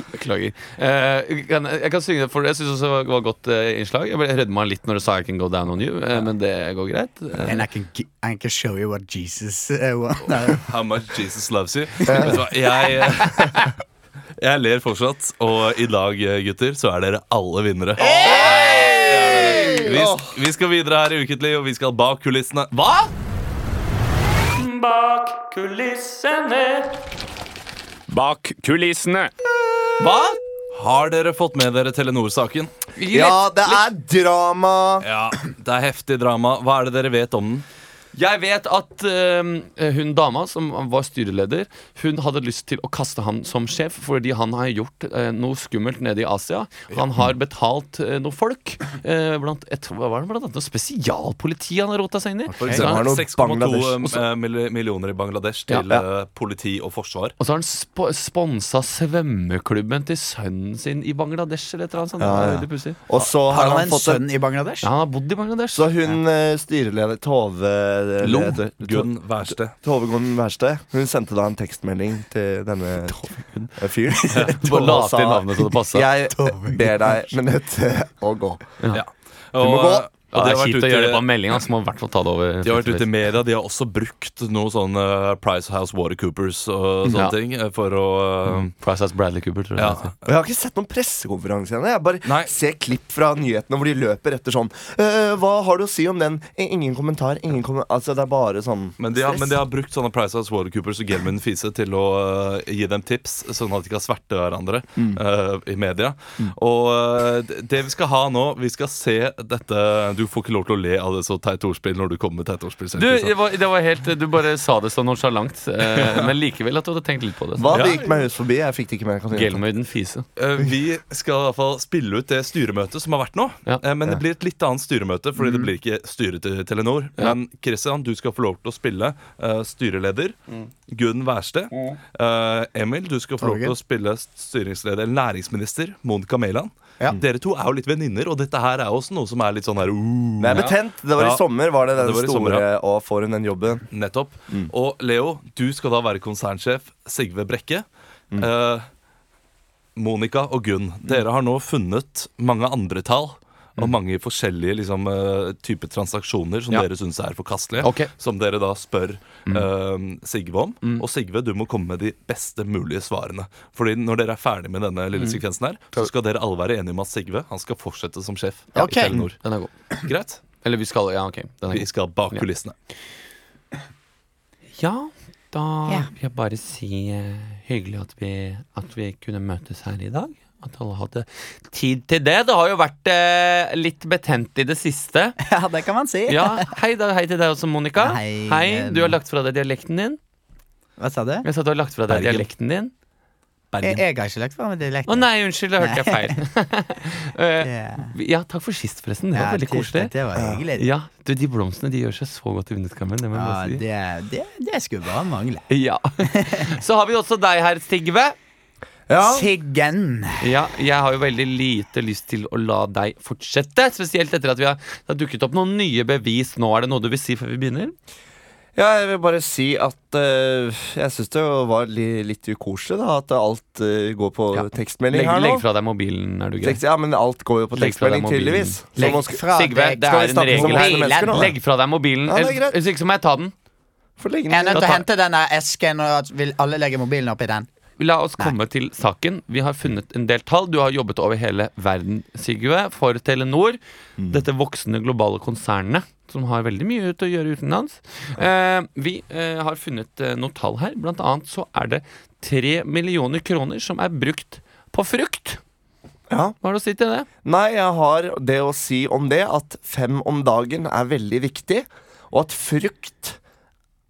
Beklager. Eh, kan, jeg kan synge det, for jeg syns også det var et godt eh, innslag. Jeg ble- rødde meg litt når du sa 'I can go down on you', eh, men det går greit. Eh, And I can, gi- I can show you what Jesus eh, wa- Nei. How much Jesus loves you. Vet du hva, jeg eh, Jeg ler fortsatt, og i dag, eh, gutter, så er dere alle vinnere. Det er dere. Vi, sk- vi skal videre her i Ukentlig, og vi skal bak kulissene. Hva?! Bak kulissene. Bak kulissene. Hva? Har dere fått med dere Telenor-saken? Ja, det er drama! Ja, det er heftig drama. Hva er det dere vet om den? Jeg vet at eh, hun dama som var styreleder, hun hadde lyst til å kaste han som sjef fordi han har gjort eh, noe skummelt nede i Asia. Han har betalt eh, noen folk, eh, blant, et, hva var det, blant annet noe spesialpoliti han har rota seg inn i. For eksempel har noe Bangladesh. 6,2 eh, mill- millioner i Bangladesh til Ja. eh, politi og forsvar. Og så har han sp sponsa svømmeklubben til sønnen sin i Bangladesh. Eller et eller annet sånt. Det er veldig pussig. Og så har Har han, han en fått en sønn i Bangladesh? Ja, han har bodd i Bangladesh. Så hun eh, styreleder Tove Lo, leder- Gunn, Wærsted. Tove Gunn Wærste. Hun sendte da en tekstmelding til denne eh, fyren. Bare Tove la sa, til navnet så det passer. Jeg ber deg minutt å gå. Ja. Du må Og, eh, gå. og ja, det de har er vært kjipt å gjøre det på ute- en melding. Altså, må i hvert fall ta det over. de har vært ute i media. De har også brukt noe sånn eh, Price House Watercoopers og Ja. sånne ting eh, for å eh, Price as Bradley Cooper, tror jeg. ja. det heter. Og Jeg har ikke sett noen pressekonferanse ennå. Jeg bare Nei. ser klipp fra nyhetene hvor de løper etter sånn «Eh, Hva har du å si om den? I- Ingen kommentar. Ingen kommentar. Altså, det er bare sånn Men de, har, men stress. de har brukt sånne Price House Watercoopers og Gelmin Fise til å øh, gi dem tips, sånn at de kan sverte hverandre Mm. øh, i media. Og øh, det- det vi skal ha nå Vi skal se dette Du får ikke lov til å le av det så teit ordspill når du kommer med teit ordspill. selv, Du, ikke sant? det var, det var helt, du bare sa det så nonsjalant, eh, men likevel at du hadde tenkt litt på det. Hva? Ja. Det gikk meg hus forbi. Jeg fikk det ikke med. Jeg kan si det. Gelmøyden fise. Eh, Vi skal i hvert fall spille ut det styremøtet som har vært nå. Ja. Mm. Eh, Men det blir et litt annet styremøte, fordi det blir ikke styret til Telenor. Men Christian, du skal få lov til å spille eh, styreleder. Mm. Gunn Wærsted. Eh, Emil, du skal få lov til å spille styringsleder næringsminister Monica Mæland. Mm. Ja. Dere to er jo litt venninner, og dette her er også noe som er litt sånn her uh, Det er betent. Det var Ja. i sommer, var det den Det var i store. sommer, ja. Og får hun den jobben? Nettopp. Mm. Og Leo, du skal da være konsernsjef Sigve Brekke. Mm. Eh, Monica og Gunn, dere har nå funnet mange andre tall. Og mange forskjellige liksom, eh, typer transaksjoner som Mm. Ja. dere syns er forkastelige. Ok. Mm. Som dere da spør eh, Sigve om. Og Sigve, du må komme med de beste mulige svarene. Fordi når dere er ferdig med denne Mm. lille sekvensen her, så skal dere alle være enige om at Sigve han skal fortsette som sjef Ok. i Telenor. Den er god. Greit? Eller vi skal Ja, ok. Den er Vi god. skal bak Ja. kulissene. Ja, da vil jeg bare si eh, hyggelig at vi, at vi kunne møtes her i dag. At alle hadde tid til det. Det har jo vært eh, litt betent i det siste. Ja, det kan man si. Ja, Hei da, hei til deg også, Monica. Hei, hei. Du har Emma. lagt fra deg dialekten din. Hva sa du? Jeg sa du har lagt fra deg Bergen. dialekten din. Jeg, jeg har ikke lagt på meg dialekt. Å nei, unnskyld, da hørte jeg feil. Eh, Ja. ja, takk for sist, forresten. Det var Ja, veldig tusen koselig. takk, Det var hyggelig. Ja, Ja, du, De blomstene de gjør seg så godt i vinduskarmen. Det må jeg bare si. det, det, det skulle bare mangle. Ja. Så har vi også deg her, Sigve. Ja. Siggen. Ja, Jeg har jo veldig lite lyst til å la deg fortsette. Spesielt etter at vi har, det har dukket opp noen nye bevis. Nå er det noe du vil si før vi begynner? Ja, jeg vil bare si at eh, jeg syns det var li, litt ukoselig, da. At alt eh, går på Ja. tekstmelding Legg, her nå. legg fra deg mobilen, er du grei. Tekst, ja, men alt går jo på Legg fra tekstmelding, deg mobilen. tydeligvis. Så Legg nå skal fra Sigve, deg. det skal vi er en snakke som regel voksne her. mennesker nå, da? Legg fra deg mobilen. Ja, det er Ellers- greit. Hvis ikke så må jeg ta den. få legge Jeg er den nødt ned. til å hente denne esken, og at vil alle legge mobilen oppi den. La oss komme til saken. Vi har funnet en del tall. Du har jobbet over hele verden, Sigve, for Telenor. Mm. Dette voksende globale konsernet som har veldig mye ut å gjøre utenlands. Eh, vi eh, har funnet eh, noen tall her. Blant annet så er det tre millioner kroner som er brukt på frukt. Ja. Hva har du å si til det? Nei, jeg har det å si om det at fem om dagen er veldig viktig, og at frukt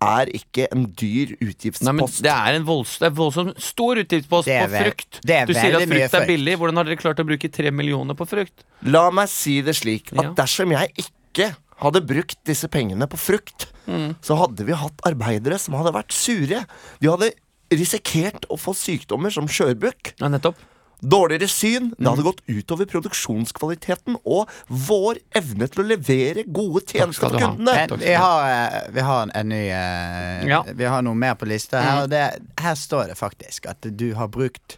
er ikke en dyr Nei, men utgiftspost. det er en volds, det er voldsomt stor utgiftspost Det er på vel- frukt. det er Du sier at veldig mye frukt er frukt. billig. Hvordan har dere klart å bruke tre millioner på frukt? La meg si det slik at Ja. dersom jeg ikke hadde brukt disse pengene på frukt, så hadde vi hatt arbeidere som hadde vært sure. De hadde risikert å få sykdommer som skjørbukk, Ja, nettopp. Mm. dårligere syn. Det hadde gått utover produksjonskvaliteten og vår evne til å levere gode tjenester skal du til ha. kundene. Men vi har, eh, vi har en, en ny eh, Ja. Vi har noe mer på lista Mm. her. Og det, her står det faktisk at du har brukt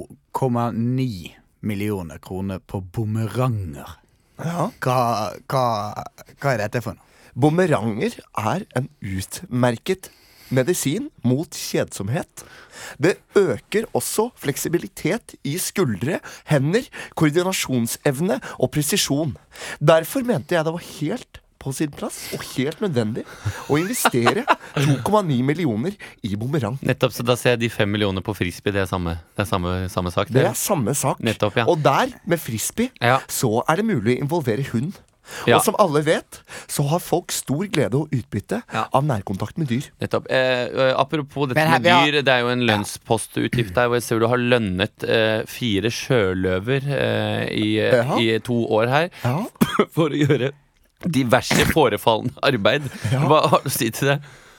2,9 millioner kroner på bumeranger. Hva, hva, hva er dette for noe? Bomeranger er en utmerket medisin mot kjedsomhet. Det øker også fleksibilitet i skuldre, hender, koordinasjonsevne og presisjon. Derfor mente jeg det var helt på sin plass og helt nødvendig å investere 2,9 millioner i bumerang. Nettopp, så da ser jeg de fem millioner på frisbee. Det er samme, det er samme, samme sak. Det er samme sak. Nettopp, ja. Og der, med frisbee, Ja. så er det mulig å involvere hund. Ja. Og som alle vet, så har folk stor glede og utbytte Ja. av nærkontakt med dyr. Nettopp. Eh, eh, apropos dette Men her- med vi har- dyr, det er jo en lønnspostutgift der hvor jeg ser du har lønnet eh, fire sjøløver eh, i, Ja. i to år her Ja. for å gjøre diverse forefallende arbeid. Hva har du å si til det?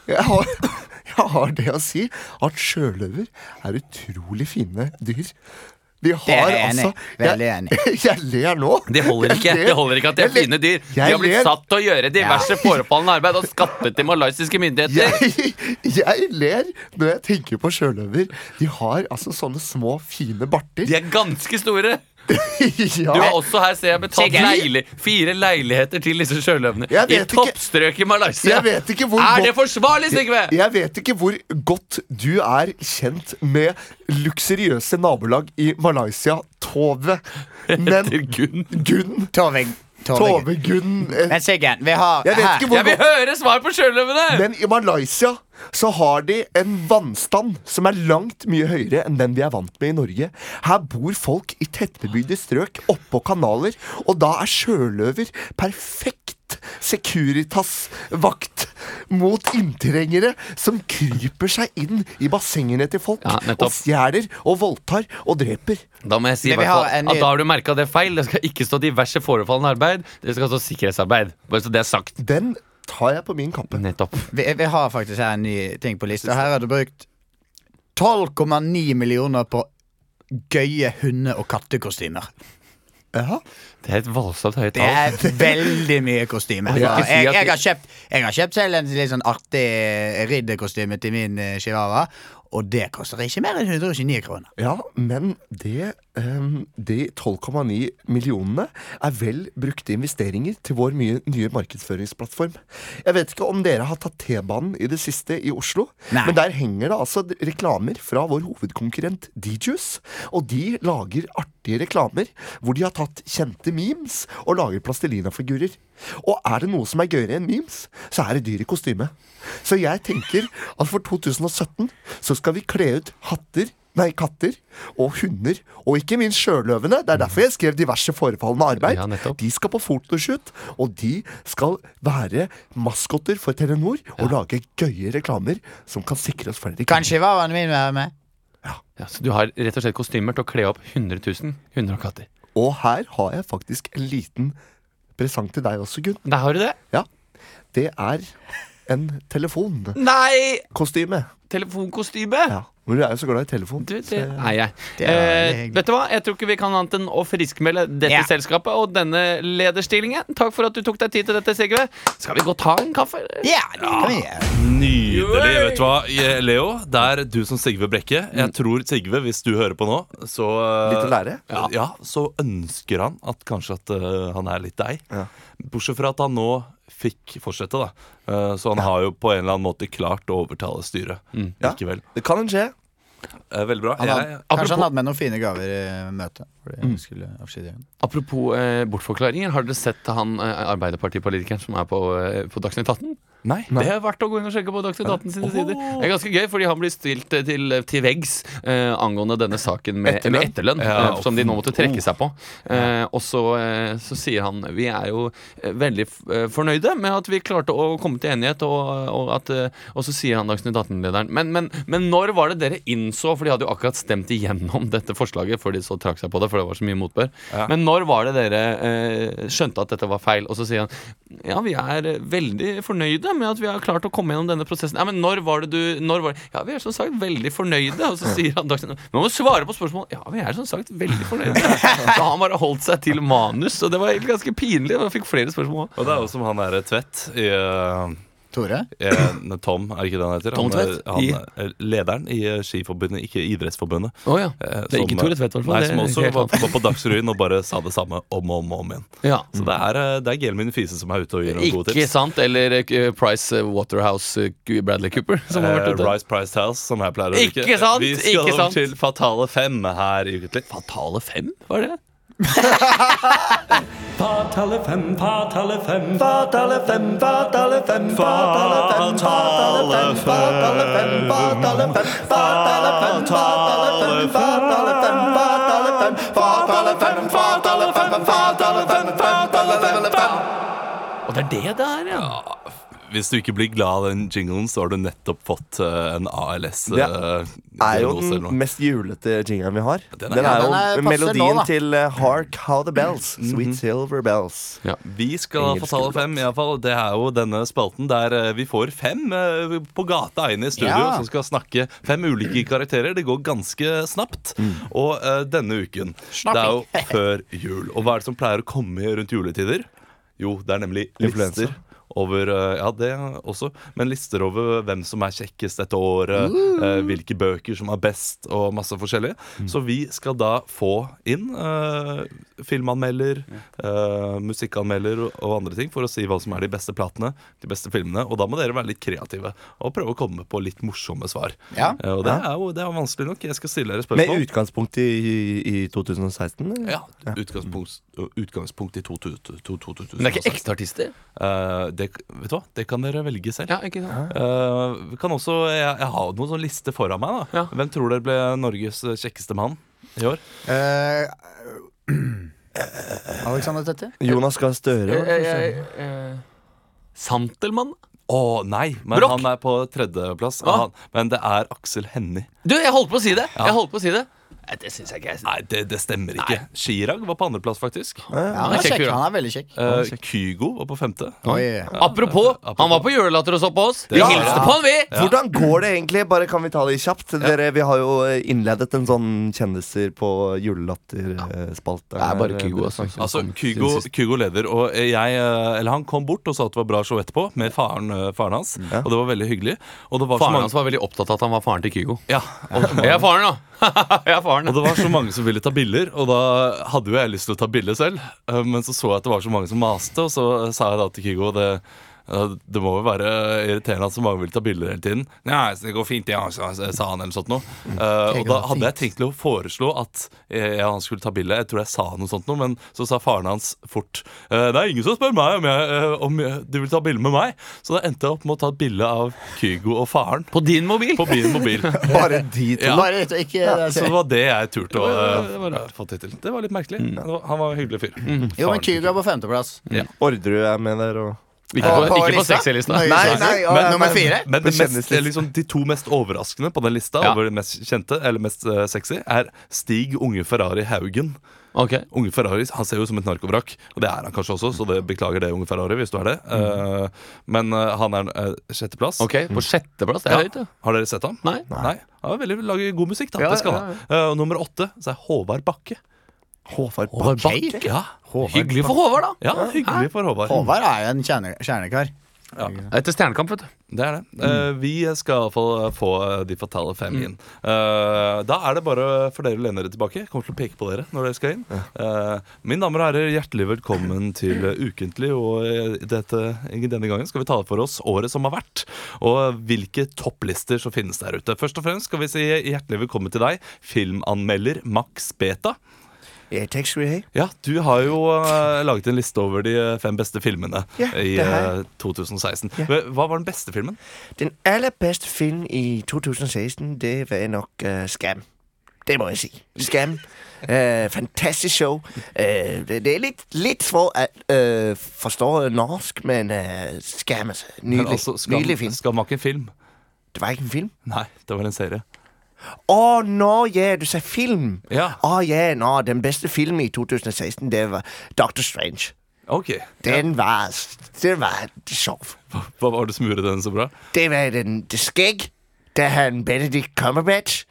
Jeg har, jeg har det å si at sjøløver er utrolig fine dyr. De Det har er jeg enig altså i. Veldig enig. Jeg, jeg ler nå. Det holder ikke. Jeg ler. Det holder ikke at de er Jeg ler. fine dyr. De Jeg har blitt ler. satt til å gjøre diverse forefallende arbeid og skattet til malaysiske myndigheter. Jeg, jeg ler når jeg tenker på sjøløver. De har altså sånne små, fine barter. De er ganske store. Ja. Du har også her ser jeg betalt Sikkert. leili fire leiligheter til disse sjøløvene. Jeg I vet ikke- toppstrøket i Malaysia. Jeg vet ikke hvor er godt- det forsvarlig, Sigve? Jeg vet ikke hvor godt du er kjent med luksuriøse nabolag i Malaysia, Tove. Men Gunn. Gunn Tove, Tove. Tove Gunn eh, Men Siggen, vi har Jeg vet her- ikke hvor Jeg vil høre svar på sjøløvene! Men i Malaysia så har de en vannstand som er langt mye høyere enn den vi er vant med i Norge. Her bor folk i tettbebygde strøk oppå kanaler, og da er sjøløver perfekt Securitas-vakt mot inntrengere som kryper seg inn i bassengene til folk Ja, nettopp. og stjeler og voldtar og dreper. Da må jeg si i Men vi hvert fall har en- at da har du merka det feil. Det skal ikke stå diverse forefallende arbeid. Det skal stå sikkerhetsarbeid. Bare så det er sagt. Den tar jeg på min kappe. Nettopp. Vi, vi har faktisk her en ny ting på lista. Her har du brukt 12,9 millioner på gøye hunde- og kattekostymer. Ja. Det er et voldsomt høyt Det tall. er veldig mye kostyme. Og jeg kan ikke Jeg, si at jeg, vi- har kjøpt, jeg har kjøpt selv en litt sånn artig ridderkostyme til min eh, chihuahua, og det koster ikke mer enn 129 kroner. Ja, men det, ehm, de 12,9 millionene er vel brukte investeringer til vår mye, nye markedsføringsplattform. Jeg vet ikke om dere har tatt T-banen i det siste i Oslo, Nei. men der henger det altså d- reklamer fra vår hovedkonkurrent DJs, og de lager artige reklamer hvor de har tatt kjente memes og lager plastelinafigurer. Og er det noe som er gøyere enn memes, så er det dyr i kostyme. Så jeg tenker at for 2017 så skal vi kle ut hatter Nei, katter og hunder, og ikke minst sjøløvene. Det er derfor jeg skrev diverse forefallende arbeid. Ja, nettopp. de skal på fotoshoot, og de skal være maskotter for Telenor og lage gøye reklamer som kan sikre oss flere Kan chihuahuaen min være med? Ja, så du har rett og slett kostymer til å kle opp 100 000 hunder og katter. Og her har jeg faktisk en liten presang til deg også, Gunn. Der har du det. Ja, det er en telefonkostyme. Nei! Telefonkostyme! Ja. Men du er jo så glad i telefon. Du, det er jeg. Det er Eh, hyggelig. vet du hva? Jeg tror ikke vi kan annet enn å friskmelde dette Ja. selskapet og denne lederstillingen. Takk for at du tok deg tid til dette, Sigve. Skal vi gå og ta en kaffe? eller? Ja, det kan vi gjøre. Nydelig. Vet du hva, Je- Leo? Det er du som Sigve Brekke. Jeg tror Sigve, hvis du hører på nå, så eh, Litt å lære. Ja, ja, så ønsker han at kanskje at eh, han er litt deg. Ja. Bortsett fra at han nå fikk fortsette, da. Eh, så han har jo på en eller annen måte klart å overtale styret Mm. Ja. likevel. Det kan skje. Eh, veldig bra. Han Jeg- hadde, kanskje han hadde med noen fine gaver i møtet. Fordi Mm. han skulle avskjede henne. Apropos eh, bortforklaringer. Har dere sett han eh, Arbeiderpartipolitikeren som er på, eh, på Dagsnytt 18? Nei. Det er verdt å gå inn og sjekke på Dagsnytt 18 sine sider. Det er ganske gøy, fordi han blir stilt eh, til, til veggs eh, angående denne saken med etterlønn, med etterlønn Ja. eh, som de nå måtte oh. trekke seg på. Eh, og så, eh, så sier han Vi er jo eh, veldig f- eh, fornøyde med at vi klarte å komme til enighet, og, og, at, eh, og så sier han Dagsnytt 18-lederen men, men, men når var det dere innså For de hadde jo akkurat stemt igjennom dette forslaget før de så trakk seg på det, for det var så mye motbør. Men når var det dere eh, skjønte at dette var feil? Og så sier han ja, vi er eh, veldig fornøyde med at vi har klart å komme gjennom denne prosessen. Ja, men når var det du når var det? Ja, vi er som sagt veldig fornøyde. Og så sier han Dagsnytt Nå må du svare på spørsmål. Ja, vi er som sagt veldig fornøyde. Så han bare holdt seg til manus, og det var egentlig ganske pinlig. Og jeg fikk flere spørsmål. Og det er jo som han derre Tvedt i eh, Tore? Eh, ne- Tom, er det ikke det han heter? Tom Han, Tvedt? eh, han, eh, lederen i eh, Skiforbundet, ikke Idrettsforbundet. Oh, ja. eh, Det er ikke Tore Tvedt, i hvert fall. Nei, Det som er også helt var, annet. var på Dagsrevyen og bare sa det samme om og om, og om igjen. Ja. Så det er, eh, det er Gelmin Fise som er ute og gir noen gode Ikke tips. sant? Eller eh, Price Waterhouse eh, Bradley Cooper, som har Eh, vært ute. Rice Price House, som jeg pleier å Ikke sant, Vi skal ikke sant. til Fatale fem her i Ukentlig. Fatale fem, var det? Fatale fem, fatale fem, fatale fem, fatale fem, fatale fem, fatale fem, fatale fem, fatale fem, fatale fem, fatale fem, fatale fem, fatale fem, fatale fem, fatale fem, fatale fem, fatale fem, Og det er det det er, ja. Hvis du ikke blir glad av den jinglen, så har du nettopp fått eh, en ALS. Det eh, er jo diagnose eller noe. den mest julete jingeren vi har. Den er, Ja, jo den er- passer nå, melodien da. til eh, Hark How The Bells. Mhm. Sweet Silver Bells. Vi skal få Engelsk tallet fem, iallfall. Det er jo denne spalten der eh, vi får fem eh, på gata inne i studio Ja. som skal snakke fem ulike karakterer. Det går ganske snapt. Mm. Og eh, denne uken Det er jo før jul. Og hva er det som pleier å komme rundt juletider? Jo, det er nemlig Influensa. lister. Over, eh, ja, det også Men lister over hvem som er kjekkest dette året, eh, hvilke bøker som er best, og masse forskjellig. Så vi skal da få inn eh, filmanmelder, eh, musikkanmelder og, og andre ting for å si hva som er de beste platene, de beste filmene. Og da må dere være litt kreative og prøve å komme på litt morsomme svar. Ja. Eh, og det er jo det er vanskelig nok. Jeg skal stille dere Med spørsmål. utgangspunkt i, i, i 2016? eller? ja, utgangspunkt, utgangspunkt i 2000. Men det er ikke ekte artister? Eh, det, vet du hva? det kan dere velge selv. Ja, ikke sant? Eh, vi kan også, jeg, jeg har noen sånn liste foran meg. da Ja. Hvem tror dere ble Norges kjekkeste mann i år? Eh, Alexander Tette? Jonas Gahr Støre? Eh, eh, eh, Santelmann? Å nei, men Broch? han er på tredjeplass. Hva? Han- Men det er Aksel Hennie. Du, jeg holdt på å si det! Jeg holdt på å si det Nei, Det syns jeg ikke. Nei, det, det stemmer ikke. Chirag var på andreplass, faktisk. Ja, han er kjekk. Han er veldig kjekk. Eh, Kygo var på femte. Oi. Apropos, han var på julelatter og så på oss. Vi Ja. hilste på han, vi! Hvordan går det egentlig? Bare kan vi ta det kjapt? Dere, vi har jo eh, innledet en sånn kjendiser på julelatter-spalte. Altså, Kygo, Kygo leder, og jeg, eh, eller han kom bort og sa at det var bra show etterpå, med faren, eh, faren hans. Og det var veldig hyggelig. Og det var så Faren mange hans var veldig opptatt av at han var faren til Kygo. ja, og, Jeg er faren, da! jeg er faren. Og det var så mange som ville ta bilder, og da hadde jo jeg lyst til å ta bilde selv. Eh, Men så så jeg at det var så mange som maste, og så eh, sa jeg da til Kygo det, eh, det må jo være irriterende at så mange vil ta bilder hele tiden. Nei, så det går fint, ja, så- så- sa han eller sånt noe. Eh, og da hadde jeg tenkt til å foreslå at jeg og han skulle ta bilde. Jeg tror jeg sa noe sånt noe, men så sa faren hans fort eh, Det er ingen som spør meg om, jeg, eh, om jeg, du vil ta bilde med meg. Så da endte jeg opp med å ta et bilde av Kygo og faren På din mobil. på min mobil. Bare de to. Ja. Bare rett og ikke Så det var det jeg turte å eh, det var rart. få til. Det var litt merkelig. Det var- Han var en hyggelig fyr. Mm. Jo, men Faren. Kygo er på femteplass. Orderud er med der og Ikke på, På ikke på lista? sexy-lista. Nei, nei, ja, Men- Nummer fire? Men det På mest, kjendislisten. liksom, de to mest overraskende på den lista Ja. over de mest kjente, eller mest eh, sexy, er Stig Unge Ferrari Haugen. Ok Unge Ferrari han ser jo ut som et narkovrak, og det er han kanskje også, så det beklager det, Unge Ferrari, hvis du er det. Eh, men eh, han er eh, sjetteplass. Mm. Ok, På sjetteplass? Det Ja. er høyt, ja. Har dere sett ham? Nei. Nei. Han er veldig, lager god musikk, da. Ja, det skal ja, han. Eh, og nummer åtte så er Håvard Bakke. Håvard Håvard Bakke? Ja, Hyggelig for Håvard, da. ja hyggelig for Håvard. Håvard er jo en kjerne, kjernekar. Etter Stjernekamp, vet du. Mm. Det er det. Eh, vi skal iallfall få eh, de fatale fem inn. Eh, da er det bare for dere å lene dere tilbake. Jeg kommer til å peke på dere når dere skal inn. Eh, mine damer og herrer, hjertelig velkommen til eh, Ukentlig. Og eh, dette, denne gangen skal vi tale for oss året som har vært, og hvilke topplister som finnes der ute. Først og fremst skal vi si hjertelig velkommen til deg, filmanmelder Max Beta. Airtex Rehab. Ja, du har jo eh, laget en liste over de eh, fem beste filmene Ja, i det har jeg. eh, 2016. Ja. Hva hva var den beste filmen? Den aller bedste film i 2016, det var nok uh, Skam. Det må jeg si. Skam. Øh, fantastisk show. Øh, det, det er litt, litt for å øh, forstå norsk, men øh, Skam, altså. Men Nydelig, altså, Skam- nydelig film. Skam var ikke en film. Det var ikke en film. Nei, det var en serie. Å, nå, ja, du sa film. Å Ja. ja, nå, den beste filmen i 2016, det var Doctor Strange. Ok. Den var Den var sjov. Hva var det som gjorde den så bra? Det var den, det skæg, der han Benedict Cumberbatch,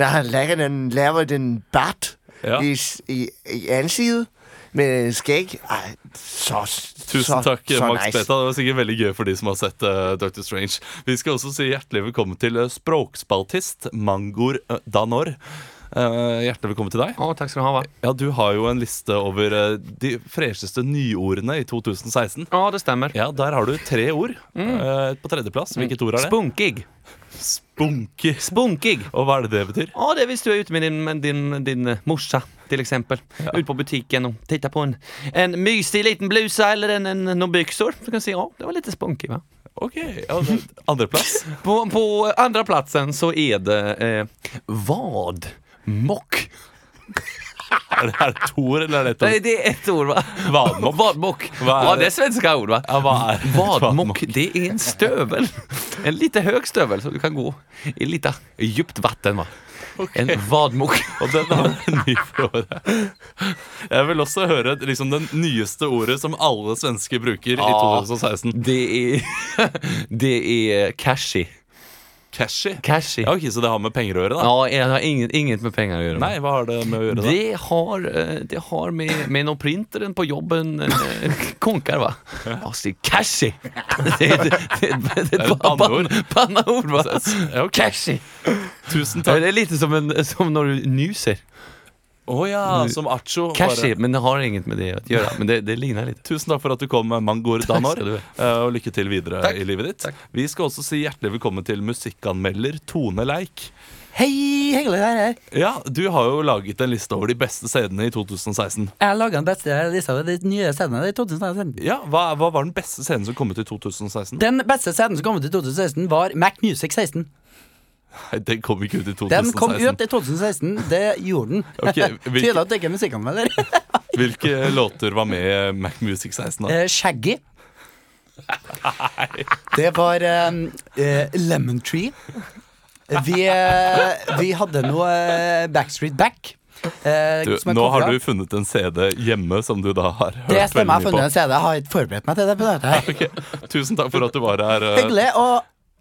der han laver den, laver den bart Ja. i, s- i, i ansigtet med skæg. Ej, så, Tusen så, takk, så Max nice. Beta. Det var sikkert veldig gøy for de som har sett eh, Dr. Strange. Vi skal også si hjertelig velkommen til eh, språkspaltist Mangor eh, Danor. Eh, hjertelig velkommen til deg. Å, takk skal du ha. Hva? Ja, Du har jo en liste over eh, de fresheste nyordene i 2016. Å, det stemmer. Mm. Ja, Der har du tre ord. Eh, på tredjeplass, hvilket ord er det? Spunkig. Spunky. Spunkig. Og hva er det det betyr? Å, det er hvis du er ute med din, med din, din eh, morsa, til eksempel. Ute på butikken og titter på en, en mysig liten bluse eller en, en, noen byksor. Du kan si å, det var litt spunky, va? Ok, ja, det- Andreplass. altså, På, på andra platsen så er det eh, vad? Mock. Er det, er det to ord, eller er det ett Nei, ord? det er ett ord, va? Vadmokk. Vadmokk. Hva er ja, det? det er svenska ord, va? Ja, hva er Vadmokk, det er en støvel. En lite høg støvel, så du kan gå i lite djupt vatten, va? En vadmokk. Og den er ny for året. Jeg vil også høre liksom, den nyeste ordet som alle svensker bruker Ah. i 2016. Det er Det er cashy. Cashy. Cashy. Ja, ok, Så det har med penger å gjøre, da? Ja, jeg har inget, inget med penger å gjøre. Nei, hva har det med å gjøre, da? Det har, eh, det har med, med noen printeren på jobben eh, Konkar, va? Altså, cashy! Det er det- det er et et banneord. banneord. Banneord, va? Ja, ok. Cashy! Tusen Ja, takk. Det er litt som, en, som når du nyser. Å ja, som Acho. Mm. Cashy, bare- men det har inget med det å gjøre. Men det, det ligner litt. Tusen takk for at du kom, Mangor Danor. skal du eh, Og lykke til videre i livet ditt. Vi skal også si hjertelig velkommen til musikkanmelder Tone Leik. Hei, hyggelig å være her. Ja, du har jo laget en liste over de beste scenene i 2016. Jeg laga den beste lista over de nye scenene i 2016. Ja, Hva, hva var den beste scenen som kom ut i 2016? Den beste scenen som kom ut i 2016, var Mac Music 16. Nei, den kom ikke ut i 2016. Den kom ut i 2016. Det gjorde den. Ok, hvilke- Tydelig at det ikke er musikkanmelder. Hvilke låter var med i Mac Music 16? da? Eh, Shaggy. Det var eh, eh, Lemon Tree. Vi, eh, vi hadde noe eh, Backstreet Back. eh, Du, som er nå har coveret. du funnet en CD hjemme som du da har hørt Det stemmer. Jeg har veldig funnet mye en CD. Jeg har ikke forberedt meg til det. på dette her på. Ok, Tusen takk for at du var her. eh. Hyggelig. Og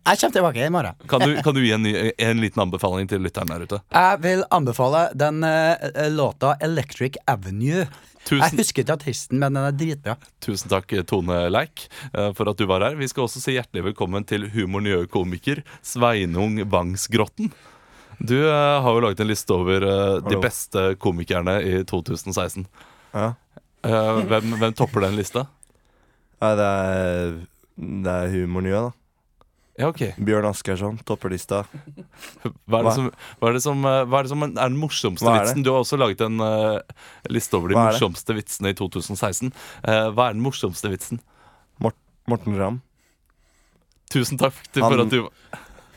jeg kommer tilbake i morgen. Kan du, kan du gi en, ny, en liten anbefaling til lytteren der ute? Jeg vil anbefale den eh, låta Electric Avenue. Jeg Tusen, husker ikke artisten, men den er dritbra. tusen takk, Tone Leik, eh, for at du var her. Vi skal også si hjertelig velkommen til humornjø-komiker Sveinung Bangsgrotten. Du eh, har jo laget en liste over eh, de Hallo. beste komikerne i 2016. Ja. Eh, hvem, hvem topper den lista? Nei, det er, det er humornye, da. Ja, ok Bjørn Askersson, topperlista. Hva er det Hva? som, hva er, det som, eh, hva er, det som er den morsomste Hva er det? vitsen? Du har også laget en eh, liste over de Hva er det? morsomste vitsene i 2016. Eh, hva er den morsomste vitsen? Morten Ramm. Tusen takk til, Han- for at du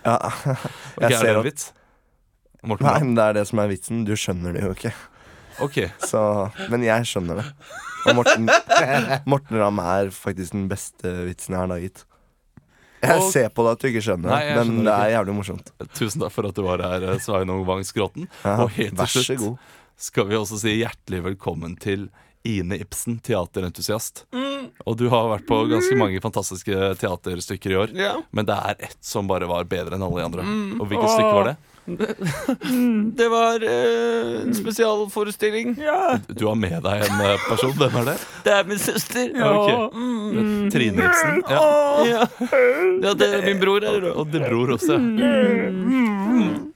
Ja, Ok, jeg Er det ser en at vits? Morten Nei, Ramm? men det er det som er vitsen. Du skjønner det jo ikke. Ok. Så, men jeg skjønner det. Og Morten, Morten Ramm er faktisk den beste vitsen jeg har laget. Jeg Og- ser på deg at du ikke skjønner, Nei, jeg det, men skjønner det det er jævlig morsomt. Tusen takk for at du var her, eh, Sveinung Wang Skråten. Ja, Og helt vær til så slutt god. skal vi også si hjertelig velkommen til Ine Ibsen, teaterentusiast. Og du har vært på ganske mange fantastiske teaterstykker i år. Ja. Men det er ett som bare var bedre enn alle de andre. Og hvilket stykke var det? Mm. Det var eh, en spesialforestilling. Du har med deg en eh, person, hvem er det? Det er min søster. Ok. Trine Ibsen ja. Ja. Ja, det er min bror. Her, Og din bror også ja.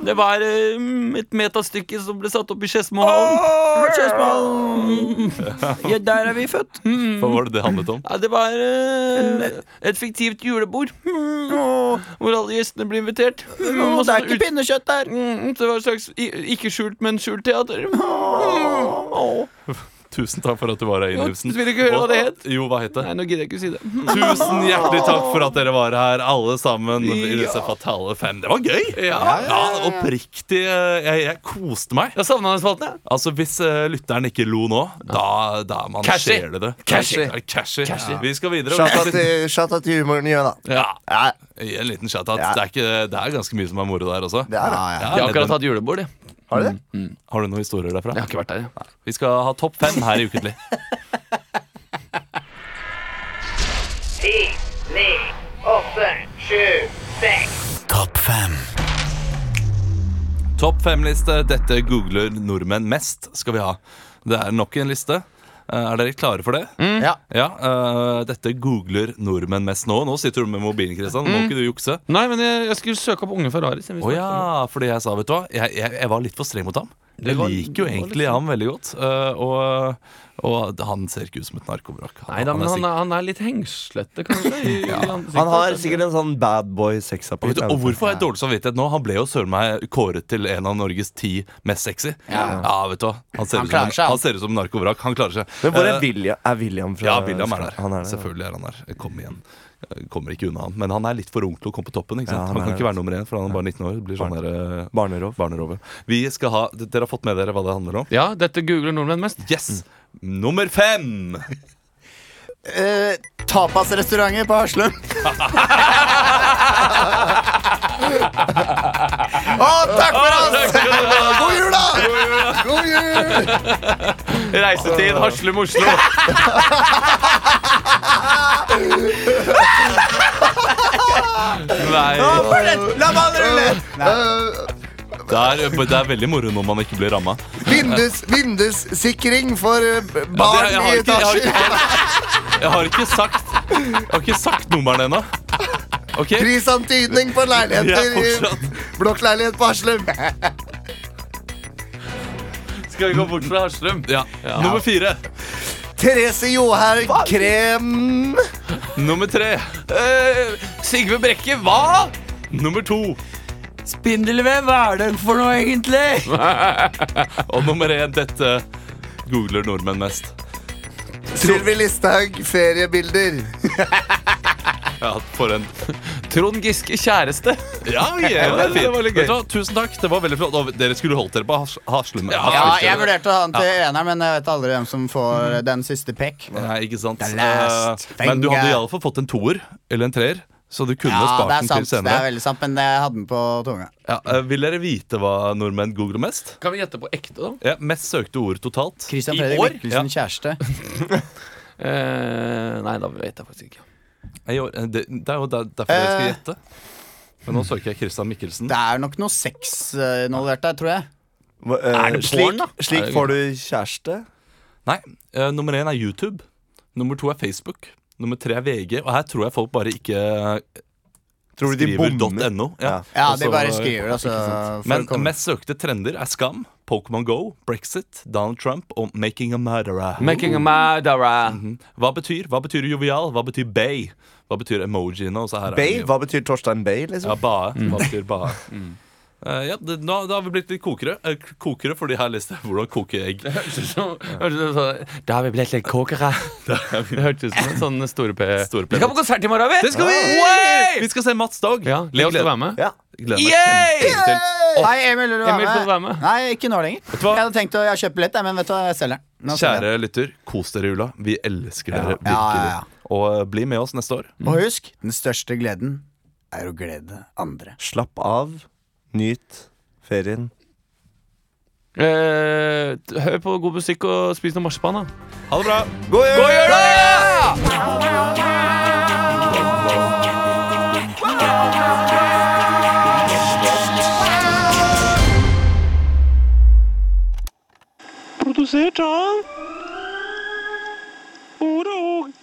Det var eh, et metastykke som ble satt opp i Skedsmohallen. Ja, der er vi født. Hva var det det handlet om? Ja, det var eh, et fiktivt julebord. Mm, hvor alle gjestene ble invitert. Mm, Å, og det så er ikke ut- pinnekjøtt der. Mm, så det var et slags i- ikke skjult, men skjult teater. Mm, åh. Tusen takk for at du var her, Innrufsen. Du vil ikke høre hva det het? Jo, hva het det? Nei, nå gidder jeg ikke å si det. Mm. Tusen hjertelig takk for at dere var her, alle sammen. I disse fatale fem. Det var gøy! Ja, Oppriktig. eh, Jeg, jeg koste meg. Jeg savna den spalten, jeg. Altså, Hvis eh, lytteren ikke lo nå, da, da man Cashy. ser det det. Cashy. Ja, Cashy. Vi skal videre. Shout-out til, shout out til humoren gjør da. Ja, Ja, Gi en liten shout-out. Ja. Det, er ikke- det er ganske mye som er moro der også. det er det. Ja, Jeg har men- akkurat hatt julebord, jeg. Har du det? Har du noen historier derfra? Mm, Jeg har ikke vært der, jeg. Vi skal ha topp fem her i Ukentlig. Topp fem-liste. Dette googler nordmenn mest, skal vi ha. Det er nok en liste. Eh, Er dere klare for det? Mm. Ja. Ja, eh, Dette googler nordmenn mest nå. Nå sitter du med mobilen, Kristian. Må ikke du jukse. Mm. Nei, men jeg, jeg skulle søke opp Unge Ferrari. siden vi Å snakket om ja, fordi jeg sa, vet du hva Jeg, jeg, jeg var litt for streng mot ham. Jeg var- liker jo det var egentlig ham veldig godt. eh, og, og han ser ikke ut som et narkovrak. Nei da, men er han sikkert- er, han er litt hengslete, kanskje. I, i ansiktet. Han har sikkert en sånn bad boy sexappeal. Vet du, og hvorfor har jeg dårlig samvittighet nå? Han ble jo søren meg kåret til en av Norges ti mest sexy. Ja, vet du hva. Han ser, Han ut, som, klarer seg, en- han. han ser ut som en narkovrak. Han klarer seg. Men hvor er Eh, William? Er William fra Ja, William er der. Han er der, ja. Selvfølgelig er han der. Kom igjen. Jeg Kommer ikke unna han. Men han er litt for ung til å komme på toppen. ikke sant? Ja, han han, kan er ikke det. være nummer én, for han er bare 19 år. Det Blir sånn der, eh, Barnerov. barnerove. Vi skal ha, d- Dere har fått med dere hva det handler om? Ja, dette googler nordmenn mest. Yes! Nummer fem! Eh, Tapasrestauranter på Haslum. Å, takk for oss! God jul, da! God jul! Reisetid Haslum-Oslo. Nei. La meg rulle! Det er, det er veldig moro når man ikke blir ramma. Vindus, vindussikring for eh, b- Ja, barn det- jeg, i har ikke- jeg, har etasjer. ikke- jeg har ikke sagt Jeg har ikke sagt nummeren ennå. OK? Prisantydning på Jeg leiligheter er i blokkleilighet på Haslum. Skal vi gå bort fra Haslum? Ja. Nummer fire. Therese Johaug Krem. Nummer tre. Eh, Sigve Brekke, hva? Nummer to. Spindelvev, hva er det for noe, egentlig? Og nummer én. Dette googler nordmenn mest. Sylvi Listhaug feriebilder. Ja, for en Trond Giske kjæreste. Ja, ja, det er fint. Vet du hva, Tusen takk. Det var veldig flott. Og dere skulle holdt dere på Has- Haslum. Ja, jeg vurderte å ha den til eneren, men jeg vet aldri hvem som Mm. får eh, den siste pekk. Nei, ikke sant. The last Eh, Men du hadde finger. iallfall fått en toer eller en treer. Så du kunne Ja, det er spart den til sant, det er senere. veldig sant, men jeg hadde den på tunga. Ja, eh, vil dere vite hva nordmenn googler mest? Kan vi gjette på ekte, da? Ja, mest søkte ord totalt. Christian I Fredrik år? Mikkelsen, kjæreste. Eh, nei, da vet jeg faktisk ikke. Jeg, gjorde- eh, det, det er jo der, derfor dere skal Eh. gjette. Men nå søker jeg Christian Mikkelsen. Det er nok noe sex eh, involvert der, tror jeg. Hva- eh, Er det porn, slik, da? Er slik det- får du kjæreste. Nei, eh, Nummer én er YouTube. Nummer to er Facebook. Nummer tre er VG. Og her tror jeg folk bare ikke eh, Tror du de bommer? skriver .no. Ja. Ja, Og de så- bare skriver, altså. for å Men komme- mest søkte trender er Skam, Pokémon Go, Brexit, Donald Trump og Making a Murderer. Making a murderer. Mhm. Hva betyr Hva betyr jovial? Hva betyr bay? Hva betyr emojiene? Og så her er Bay? det jo- Hva betyr Torstein Bay? Ja, liksom? bae. Mm. Hva betyr bae? Eh, ja, det, nå, da har vi blitt litt kokere. Eh, k- kokere, fordi her leste jeg hvordan koke egg. Da har vi blitt litt kokere. Det hørtes ut som en sånn Store P. Store P. Vi skal på konsert i morgen, vi! Det skal vi! Way! Vi skal se Mats Dag. Ja, Leo skal gleder- være med. Ja. gleder meg Yay! kjempe til. Hei, Emil, vil du Emil, får du være være med? med? Nei, ikke nå lenger. du hva? Jeg hadde tenkt å jeg kjøper billett, jeg, men vet du hva, jeg selger den. Nå selger jeg den. Kjære lytter, kos dere i jula. Vi elsker dere virkelig. Ja, ja, ja. Og eh, bli med oss neste år. Og husk, den største gleden er å glede andre. Slapp av. Nyt ferien. Eh, hør på god musikk og spis noe marsipan, da. Ha det bra! Produsert av Ord og